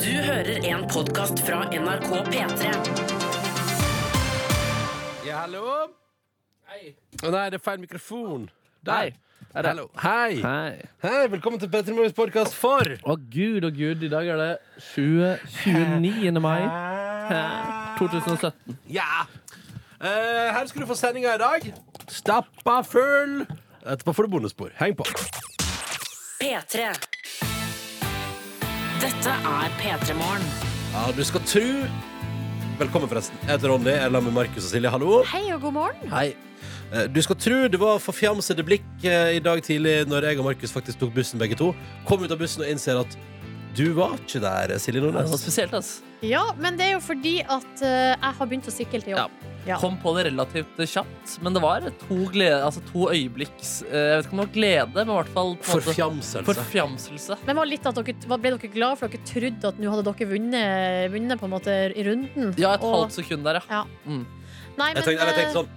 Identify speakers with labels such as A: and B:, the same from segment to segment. A: Du hører en podkast fra NRK P3.
B: Ja, hallo? Å nei, det er feil mikrofon.
C: Hei. Er det-
B: Hallo. Hei. Hei.
C: Hei.
B: Velkommen til Petter Morgens podkast for
C: Å gud, å gud, i dag er det 20, 29. mai eh, 2017.
B: Ja. Eh, her skal du få sendinga i dag. Stappa full. Etterpå får du bondespor. Heng på.
A: P3. Dette er P3 Morgen.
B: Ja, du skal tru Velkommen, forresten. Jeg heter Ronny. Jeg er sammen med Markus og Silje. Hallo.
D: Hei og god morgen.
B: Hei. Eh, Du skal tro det var forfjamsede blikk eh, i dag tidlig når jeg og Markus faktisk tok bussen begge to. Kom ut av bussen og innser at du var ikke der, Silje
C: Det var
B: Nordnes.
C: spesielt, ass.
D: Ja, men det er jo fordi at eh, jeg har begynt å sykle til jobb. Ja.
C: Kom på det relativt kjapt, men det var to, glede, altså to øyeblikks eh, Jeg vet ikke om det var glede, men i hvert fall på en måte
B: Forfjamselse.
C: forfjamselse.
D: Men var litt at dere, hva- ble dere glad for dere trodde at nå hadde dere vunnet, vunnet på en måte i runden?
C: Ja, et
D: Og-
C: halvt sekund der, ja.
D: Ja.
C: Mm.
D: Nei, men
B: Jeg tenkte, eller jeg
D: eh,
B: tenkte sånn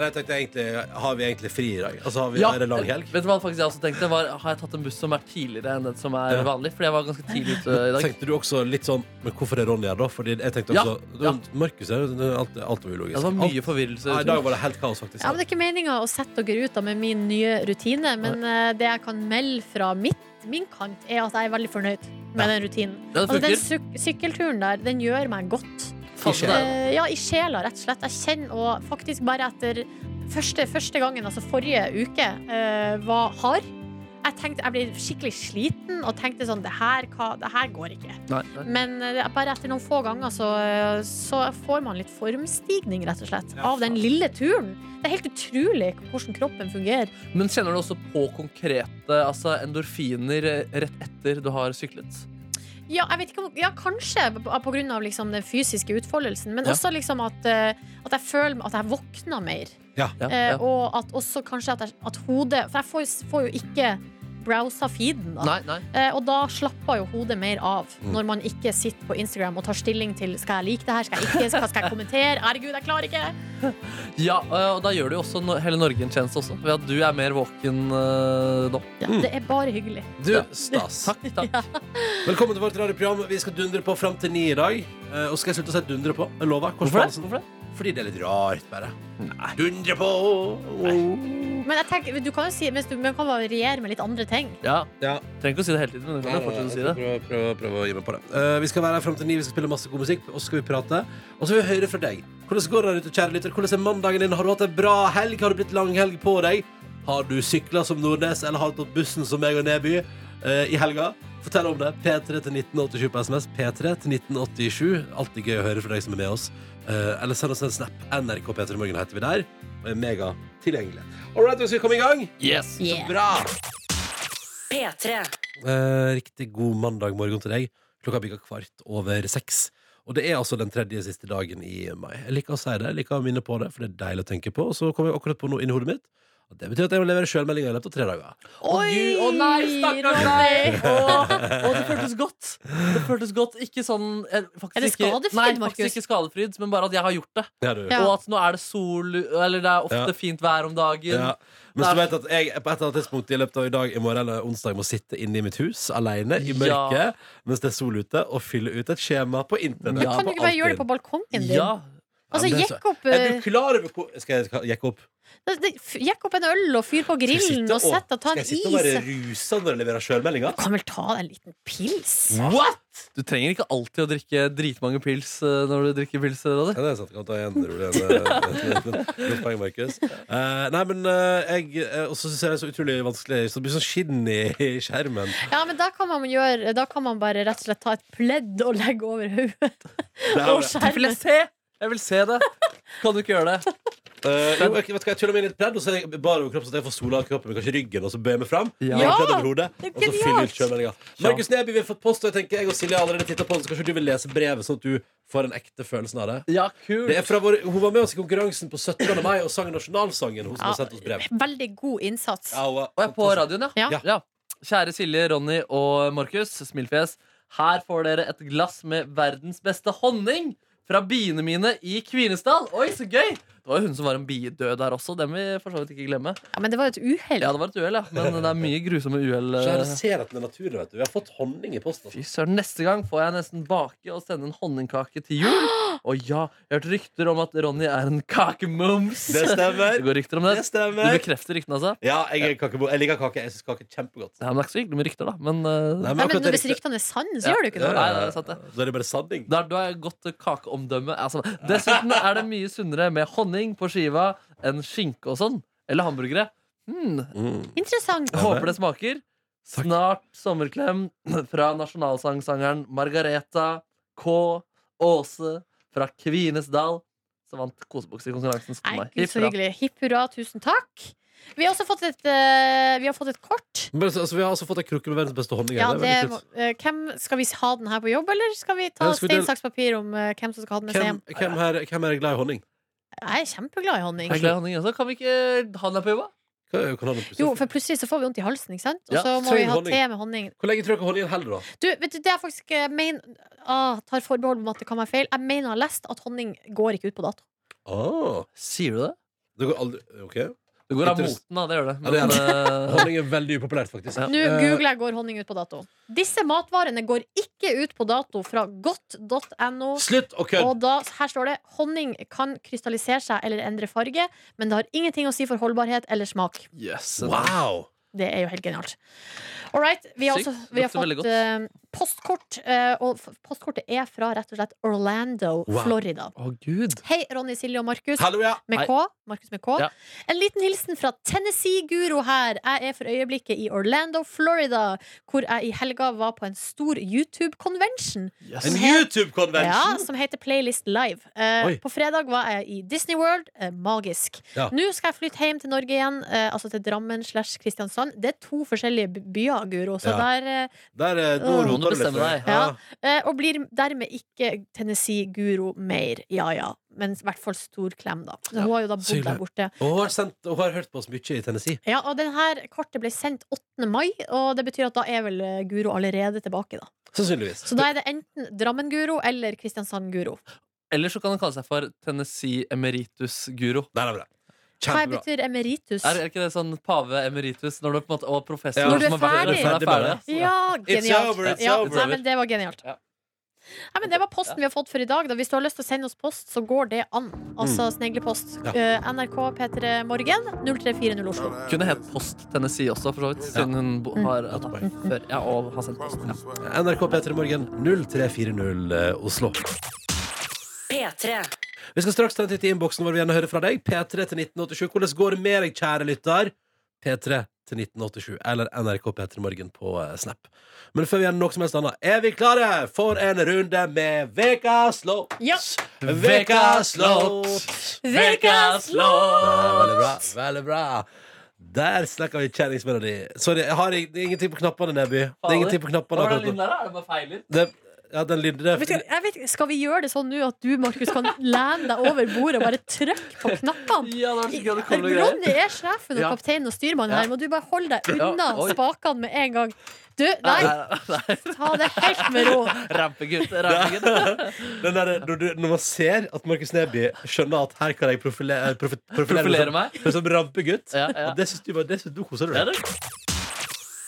B: eller jeg tenkte egentlig, Har vi egentlig fri i dag? Altså, har vi,
C: Ja,
B: Er det lang helg?
C: Vet du hva faktisk jeg også tenkte? Var, har jeg tatt en buss som er tidligere enn den som er
B: Ja.
C: vanlig? Fordi jeg var ganske tidlig ute i dag.
B: Tenkte du også litt sånn Men hvorfor er Ronny her, da? Fordi jeg tenkte
C: Ja,
B: også
C: ja.
B: Markus er jo alt, alt var ulogisk.
C: Det var
B: Alt-
C: mye forvirrelse.
B: Nei, I
C: ute.
B: dag var det helt kaos, faktisk.
D: ja, men Det er ikke meninga å sette dere ut da, med min nye rutine, men eh, det jeg kan melde fra mitt, min kant, er at jeg er veldig fornøyd med den rutinen.
C: Ja, det
D: Altså, den
C: funker.
D: syk sykkelturen der, den gjør meg godt.
C: Faen,
B: Ikke.
C: det er-
D: Eh, ja, i sjela, rett og slett. Jeg kjenner og faktisk bare etter første, første gangen, altså forrige uke, eh, var hard. Jeg tenkte, jeg ble skikkelig sliten og tenkte sånn Det her, hva, det her går ikke.
C: Nei, nei.
D: Men eh, bare etter noen få ganger så, eh, så får man litt formstigning, rett og slett. Av den lille turen. Det er helt utrolig hvordan kroppen fungerer.
C: Men kjenner du også på konkrete altså endorfiner eh, rett etter du har syklet?
D: Ja, jeg vet ikke om, ja kanskje på- på grunn av liksom den fysiske utfoldelsen, men
C: Ja.
D: også liksom at, eh, at jeg føler at jeg våkner mer.
C: Ja,
D: Eh,
C: ja.
D: Og at også kanskje at, jeg- at hodet For jeg får, jo- får jo ikke browsa feeden, da.
C: Nei, nei.
D: Eh, og da slapper jo hodet mer av,
B: Mm.
D: når man ikke sitter på Instagram og tar stilling til skal jeg like det her, skal jeg ikke, skal, skal jeg kommentere, herregud, jeg klarer ikke.
C: Ja, eh, og da gjør du jo også no- hele Norge en tjeneste også, ved at du er mer våken eh, nå.
D: Ja, Det er bare hyggelig.
B: Du, stas.
C: Takk, takk.
B: Velkommen til vårt radioprogram. Vi skal dundre på fram til ni i dag. Eh, Og så skal jeg slutte å si dundre på. Jeg lover. Kors
C: Hvorfor det?
B: Paulsen.
C: Hvorfor det?
B: Fordi det er litt rart, bare. Dundre på!
D: Men jeg tenker, du kan jo si, mens du, man kan variere med litt andre ting.
C: Ja,
B: Ja.
C: Trenger ikke å si det hele tiden, men du kan jo fortsette å si det.
B: Prøv, prøv, prøv å gi meg på det. Eh, vi skal være her frem til ni, vi skal spille masse god musikk, og så skal vi prate. Og så vil vi høre fra deg. Hvordan går det der ute, kjære lytter? Hvordan er mandagen din? Har du hatt en bra helg? Har du blitt langhelg på deg? Har du sykla som Nordnes, eller har du tatt bussen som meg og Neby eh, i helga? Fortell om det. P3 til 1987 på SMS. P3 til 1987. Alltid gøy å høre fra deg som er med oss. Eh, eller send oss en snap. NRK P3 Morgen heter vi der. Og er mega tilgjengelig. All right, vi skal komme i gang.
C: Yes.
D: Yeah.
B: Bra!
A: P3.
B: Eh, riktig god mandag morgen til deg. Klokka bikka kvart over seks. Og det er altså den tredje siste dagen i mai. Jeg liker å si det, jeg liker å minne på det, for det er deilig å tenke på. Og så kom jeg akkurat på noe inni hodet mitt. Og det betyr at jeg må levere sjølmelding i løpet av tre dager.
C: Gud, å nei, stakkars
D: Ronny.
C: deg! Å, å, det føltes godt. Det føltes godt. Ikke sånn eh, faktisk
D: Er det
C: ikke-
D: skadefryd,
C: Nei,
D: Markus?
C: faktisk ikke skadefryd, men bare at jeg har gjort det.
B: Ja, du.
D: Ja.
C: Og at nå er det sol, eller det er ofte
B: Ja.
C: fint vær om dagen.
B: Ja. Men så vet jeg at jeg på et eller annet tidspunkt i løpet av i dag, i morgen eller onsdag må sitte inne i mitt hus alene i mørket mens det er sol ute, og fylle ut et skjema på internett.
C: Ja,
D: kan du ikke bare gjøre det på balkongen din?
C: Ja,
D: Altså,
B: Ja, men det er
D: jekk opp,
B: Er du
D: eh,
B: klar over hvor Skal jeg- skal jeg jekke opp?
D: det- f- jekk opp en øl og fyr på
B: Skal jeg
D: grillen
B: sitte
D: og sett og ta
B: skal
D: en
B: jeg
D: is.
B: sitte og være rusa når jeg leverer sjølmeldinga?
D: Du kan vel ta deg en liten pils?
B: What?!
C: Du trenger ikke alltid å drikke dritmange pils eh, når du drikker pils. eh, Ronny.
B: Ja, det er sant. Kan ta igjen rolig igjen. Godt poeng, Markus. Eh, nei, men eh, jeg eh, Og så syns jeg det er så utrolig vanskelig Så det blir sånn skinn i, i skjermen.
D: Ja, men da kan man gjøre Da kan man bare rett og slett ta et pledd og legge over hodet
B: Det er
D: og
B: det.
C: Jeg vil
D: skjermen.
C: se! Jeg vil se det. Kan du ikke gjøre det?
B: Eh, jo, jeg, vet du hva, jeg tuller meg inn i et pledd, og så er jeg bare over kroppen, så at jeg får sola av kroppen min, kanskje ryggen, og så bøyer jeg meg fram.
C: Ja.
B: legger pledd over hodet,
D: det er
B: og så
D: genialt.
B: fyller jeg ut kjølemeldinga. Markus Neby, vi har fått post, og jeg tenker jeg og Silje har allerede tittet på den, så kanskje du vil lese brevet, sånn at du får den ekte følelsen av det.
C: Ja, kul.
B: Det er fra vår, hun var med oss i konkurransen på 17. mai og sang nasjonalsangen, hun som
D: Ja.
B: har sendt oss brev.
D: Veldig god innsats.
B: Ja, hun var-
C: Og jeg er på radioen, ja.
D: Ja.
C: Kjære Silje, Ronny og Markus. Smilfjes. Her får dere et glass med verdens beste honning fra biene mine i Kvinesdal. Oi, så gøy! Det Det var jo hun som var en bidød der også. Den vil vi for så vidt ikke glemme.
D: Ja, men det var jo et uhell.
C: Ja, det var et uhell, ja. Men det er mye grusomme uhell.
B: Så her
C: eh.
B: ser at den er naturlig, vet du. Vi har fått honning i posten.
C: Fy søren, Neste gang får jeg nesten bake og sende en honningkake til jul. Og ja, jeg har hørt rykter om at Ronny er en kakemums.
B: Det
C: Det
B: stemmer.
C: går rykter om det.
B: Det
C: Du
B: stemmer.
C: bekrefter ryktene, altså?
B: Ja, jeg, er kakebo. jeg liker kake. Jeg syns kake er kjempegodt.
C: Ja, men det er ikke så hyggelig med rykter, da. Men eh,
B: Nei,
D: Nei, men
B: akkurat det
D: Hvis
B: riktige-
D: ryktene er sanne, så
C: Ja.
D: gjør det jo ikke
B: Ja,
D: noe.
C: Nei, nei, det er sant, det.
B: Da er det bare sanning.
C: der, du har godt kakeomdømme. Altså, dessuten er det mye sunnere med honning på skiva enn skinke og sånn. Eller hamburgere. Hmm,
B: Mm.
D: Interessant.
B: Ja.
C: håper det smaker. Snart sommerklem fra nasjonalsangsangeren Margareta K. Aase fra Kvinesdal, som vant kosebuksekonkurransen. spør
D: Nei,
C: meg.
D: gud,
C: Hipp
D: så
C: hurra.
D: hyggelig. Hipp hurra, tusen takk. Vi har også fått et, eh, vi har fått et kort.
B: Men, så, altså, vi har altså fått ei krukke med verdens beste honning.
D: Ja,
B: her.
D: det
B: det er veldig
D: må,
B: kult.
D: eh, hvem, skal vi ha den her på jobb, eller skal vi ta
B: Ja, skal vi
D: stein,
B: dele-
D: saks, papir om eh, hvem som skal ha den med seg
B: Hvem,
D: hjem?
B: hvem, her, hvem her er glad i honning?
D: Jeg er kjempeglad i honning.
C: Jeg er glad i honning også. Kan vi ikke ha den her på jobba?
B: Hva, kan han opplyse?
D: Jo, for plutselig så får vi vondt i halsen, ikke sant? Og
C: Ja,
D: så må
B: trenger
D: vi ha
B: honning.
D: te med honning.
B: Hvor lenge tror dere honningen holder, da?
D: Du, vet du, det er faktisk eh, men, ah, Tar forbehold om at det kan være feil. Jeg mener jeg har lest at honning går ikke ut på dato.
B: Ah,
C: Sier du det?
B: det går aldri OK.
C: Det går av
B: Interess-
C: moten, da. Det gjør det.
B: Ja, det gjør
C: Men, eh,
B: Honning er veldig upopulært, faktisk.
C: Ja.
D: Nå
B: Eh,
D: googler jeg 'går honning ut på dato'. Disse matvarene går ikke ut på dato fra godt.no.
B: Slutt å kødde!
D: Og da, her står det 'honning kan krystallisere seg eller endre farge', men det har ingenting å si for holdbarhet eller smak.
C: yes,
B: Wow!
D: Det er jo helt genialt. All right, vi har,
C: Sykt.
D: også, vi har
C: Lukter veldig
D: fått eh, postkort, eh, og f- postkortet er fra rett og slett Orlando,
B: Wow.
D: Florida.
C: Å, gud.
D: Hei, Ronny, Silje og Markus.
B: Hallo, ja!
D: Med
C: Hei.
D: K. Markus med K.
C: Ja.
D: En liten hilsen fra Tennessee-guro her. Jeg er for øyeblikket i Orlando, Florida, hvor jeg i helga var på en stor YouTube-convention
C: Yes.
B: En
D: Helt-
B: YouTube-konvensjon!
D: ja, som heter Playlist Live. Eh,
B: Oi.
D: på fredag var jeg i Disney World. Eh, magisk.
B: Ja.
D: Nå skal jeg flytte hjem til Norge igjen, eh, altså til Drammen slash Kristiansand. Det er to forskjellige by- byer, Guro, så
B: Ja.
D: der eh,
B: Der eh, nå
D: Åh.
C: Nå
B: roter
C: må du
B: det litt.
C: bestemme deg.
B: Ja.
D: Ja. eh, Og blir dermed ikke Tennessee-Guro mer. Ja ja. Men i hvert fall stor klem, da. Så Hun har jo da bodd
B: Sykelig.
D: der borte.
B: Og hun har, sendt, og hun har hørt på oss mye i Tennessee.
D: Ja, og den her kortet ble sendt 8. mai, og det betyr at da er vel eh, Guro allerede tilbake, da.
B: Sannsynligvis.
D: Så da er det enten Drammen-Guro eller Kristiansand-Guro.
C: Eller så kan han kalle seg for Tennessee Emeritus Guro.
B: Der er vi det.
D: Hva
B: Kjempebra.
D: betyr emeritus?
C: Er, er ikke det sånn pave emeritus når du på en måte, og professor
B: Ja.
D: Når du er
C: som har vært-
D: ferdig.
C: Når du er ferdig.
D: Ja,
B: It's
D: genialt.
B: over, it's
D: ja,
B: over.
D: Nei, men det var genialt.
C: Ja.
D: Nei, men det var posten vi har fått for i dag. Da. Hvis du har lyst til å sende oss post, så går det an. Altså sneglepost.
B: Mm. Ja.
D: Eh, NRK P3 Morgen, 0340 Oslo.
C: Kunne hett Post Tennessee også, for så vidt. Siden hun bo- har at, før, Mm. ja, og har sendt post. Ja.
B: NRK P3 Morgen 0340 eh, Oslo.
A: P3.
B: Vi skal straks ta en titt i innboksen vår. Vi gjerne høre fra deg. P3 til 1987. Hvordan går det med deg, kjære lytter? P3 til 1987 eller NRK P3 Morgen på eh, Snap. Men før vi gjør noe som helst annet, er vi klare for en runde med Vekas låt?
D: Ja.
B: Vekas låt!
D: Vekas
B: Ja, Veldig bra. veldig bra Der snakker vi kjenningsmelodi. Sorry, jeg har ing- det er ingenting på knappene, Neby. Det er ingenting på knappene
C: Hva var den
B: akkurat
C: lyden
B: nå.
C: der, da? Er det bare feiler?
B: Det, ja, den lyden det er-
D: Vet du, jeg vet, skal vi gjøre det sånn nå at du, Markus, kan lene deg over bordet og bare trykke på knappene?
C: Ja, det var så gøy, det kommer noe greier.
D: Ronny er sjefen og
C: Ja.
D: kapteinen og styrmannen
C: Ja.
D: her. Må du bare holde deg
C: Ja,
D: unna
C: oi.
D: spakene med en gang? Du, nei,
C: Nei, nei, nei.
D: ta det helt med ro.
C: Rampegutt. rampegutt.
B: Den der, når, du, når man ser at Markus Neby skjønner at her kan jeg profile, eh, profi, profilere,
C: Profilere
B: meg som, som rampegutt
C: Ja, ja.
B: Og Det syns du, var- det synes du koser du
C: Det er
B: deg.
C: det.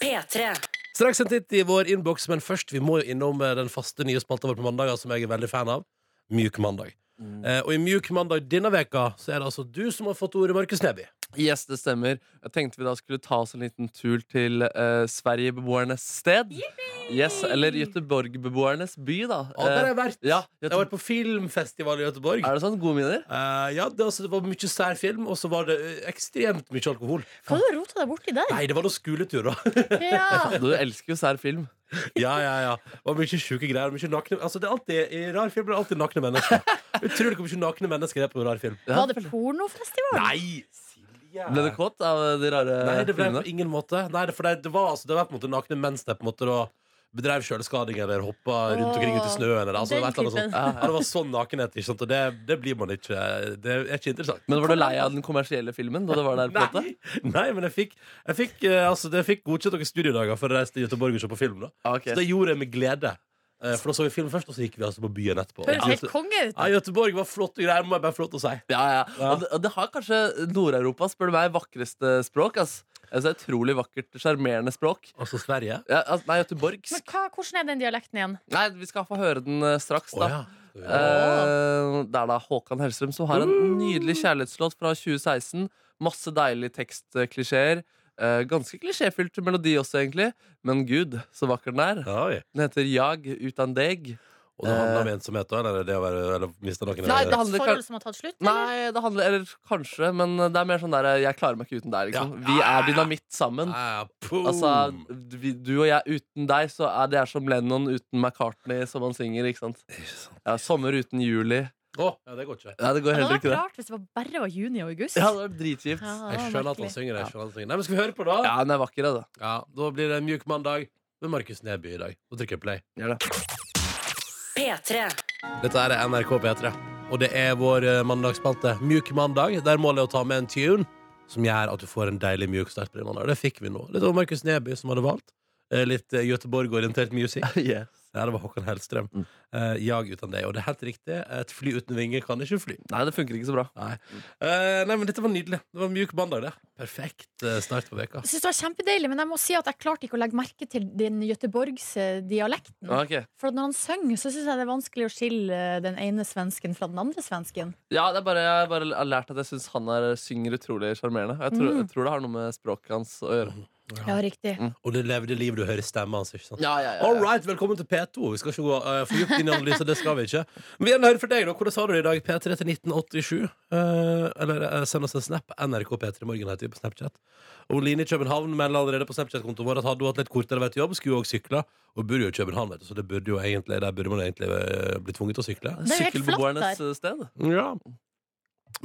A: P3.
B: Straks en titt i vår innboks, men først vi må jo innom eh, den faste nye spalta vår på mandager, som jeg er veldig fan av. Mjuk mandag.
C: Mm.
B: Eh, og i Mjuk mandag denne veka så er det altså du som har fått ordet, Markus Neby.
C: Yes, det stemmer. Jeg tenkte vi da skulle ta oss en liten tur til eh, Sverige-beboernes sted. Yes, eller Göteborg-beboernes by, da.
B: Å, der har
C: Eh,
B: jeg vært.
C: ja,
B: Jeg har vært på filmfestival i Göteborg.
C: er det sånn? Gode minner?
B: Eh, ja, det, altså, det var mye sær film, og så var det eh, ekstremt mye alkohol.
D: Hva har du rota deg borti der?
B: Nei, det var noe skoletur, da.
D: Ja.
C: Du elsker jo sær film.
B: Ja, ja, ja. Og mye sjuke greier. Mye nakne, altså, det er alltid, I rar film er det alltid nakne mennesker. Utrolig hvor mye nakne mennesker det er på en rar film.
C: Ja.
D: Var det pornofestival?
B: Nei! eh, Silje.
C: Ble du kåt av de rare
B: Nei, det ble
C: filmene?
B: på ingen måte. Nei, det, for det, det var altså, det var på en måte nakne mens det på en måte da bedrev sjølskading eller hoppa rundt omkring ute i snøen. Eller, altså, det,
D: Den
B: var et eller annet
D: typen.
B: sånt. Ja, det var sånn nakenhet, ikke sant? og det, det blir man ikke Det er ikke interessant.
C: Men var du lei av den kommersielle filmen da du var der? på en måte?
B: Nei, nei, men jeg fikk, jeg fikk, eh, altså, jeg fikk godkjent noen studiedager for å reise til Göteborg og se på film. da
C: Ah, ok.
B: Så det gjorde jeg med glede. Eh, For da så vi film først, og så gikk vi altså på byen etterpå.
D: Høres helt
B: Ja, Ah,
D: konge ut.
B: Göteborg var flott greier, må jeg bare få lov til å si.
C: Ja, ja.
B: Ja.
C: Og det, og det har kanskje Nord-Europa, spør du meg, vakreste språk. Ass. Altså, det er utrolig vakkert, sjarmerende språk.
B: Altså Sverige.
C: Ja, altså, nei, Göteborgs.
D: Men hva, hvordan er den dialekten igjen?
C: Nei, vi skal få høre den eh, straks, da.
B: Å, ja.
C: Eh, det er da Håkan Hellstrøm som har en nydelig kjærlighetslåt fra 2016. Masse deilige tekstklisjeer. Eh, ganske klisjéfylt melodi også, egentlig. Men gud, så vakker den er.
B: Oi.
C: Den heter Jag utan deg.
B: Og det handler om ensomhet òg? Eller det å være eller miste noen?
C: Nei,
B: eller-
C: det handler
D: Et
C: kan-
D: forhold som har tatt slutt? eller?
C: Nei, det handler Eller kanskje, men det er mer sånn der Jeg klarer meg ikke uten deg, liksom.
B: Ja.
C: Vi er dynamitt sammen.
B: Ah, boom.
C: Altså, vi- du og jeg uten deg, så er det er som Lennon uten McCartney, som han synger. ikke sant?
B: Ikke sant.
C: Ja, sommer uten juli.
B: Å, ja, det går ikke.
C: Ja, det går
D: Ja, det
C: heller
D: hadde
C: ikke,
D: vært
C: det.
D: rart hvis det var bare var juni og august.
C: Ja, det er dritgift.
D: Ja,
B: Jeg
D: det var
B: skjønner at han
D: merkelig.
B: synger. Jeg skjønner at han synger. Nei, men Skal vi høre på, da?
C: Ja, den er vakker, altså.
B: Ja, Da blir det en mjuk mandag med Markus Neby i dag. Så trykker jeg play.
C: Gjør det.
A: P3.
B: Dette er NRK P3, og det er vår eh, mandagsspalte Mjuk mandag, der målet er å ta med en tune som gjør at du får en deilig mjuk start på din mandag. Det fikk vi nå. Litt av Markus Neby som hadde valgt. Eh, Litt eh, Göteborg-orientert music.
C: Yes.
B: Ja, det var Håkan Hellstrøm.
C: Mm.
B: Eh, jag uten deg. Og det er helt riktig. Et fly uten vinger kan ikke fly.
C: Nei, det funker ikke så bra.
B: Eh, nei, men dette var nydelig. Det var en mjuk mandag, det. Perfekt eh, start på veka.
D: Jeg synes det var kjempedeilig, men jeg må si at jeg klarte ikke å legge merke til den gøteborgse dialekten.
C: Ja, ok.
D: For at når han synger, så syns jeg det er vanskelig å skille eh, den ene svensken fra den andre svensken.
C: ja det er bare, jeg har bare har lært at jeg syns han er, synger utrolig sjarmerende. Jeg,
D: Mm.
C: tror- jeg tror det har noe med språket hans å gjøre.
D: Ja, riktig.
B: Og det levde livet du hører stemmen hans, ikke sant?
C: Ja, ja, ja,
B: All right, velkommen til P2. Vi skal ikke gå eh, for dypt inn i analyser, det skal vi ikke. Men vi gjerne høre fra deg, da. Hvordan har du det i dag? P3 til 1987. eh, eller eh, send oss en snap. NRK P3 Morgen heter vi på Snapchat. Og Line i København melder allerede på Snapchat-kontoen vår at hadde hun hatt litt kortere vei til jobb, skulle hun òg sykla. Og bor jo i København, vet du, så det burde jo egentlig, der burde man egentlig eh, bli tvunget til å sykle.
D: Det er jo helt flatt
C: Sykkelbeboernes eh, sted.
B: Ja.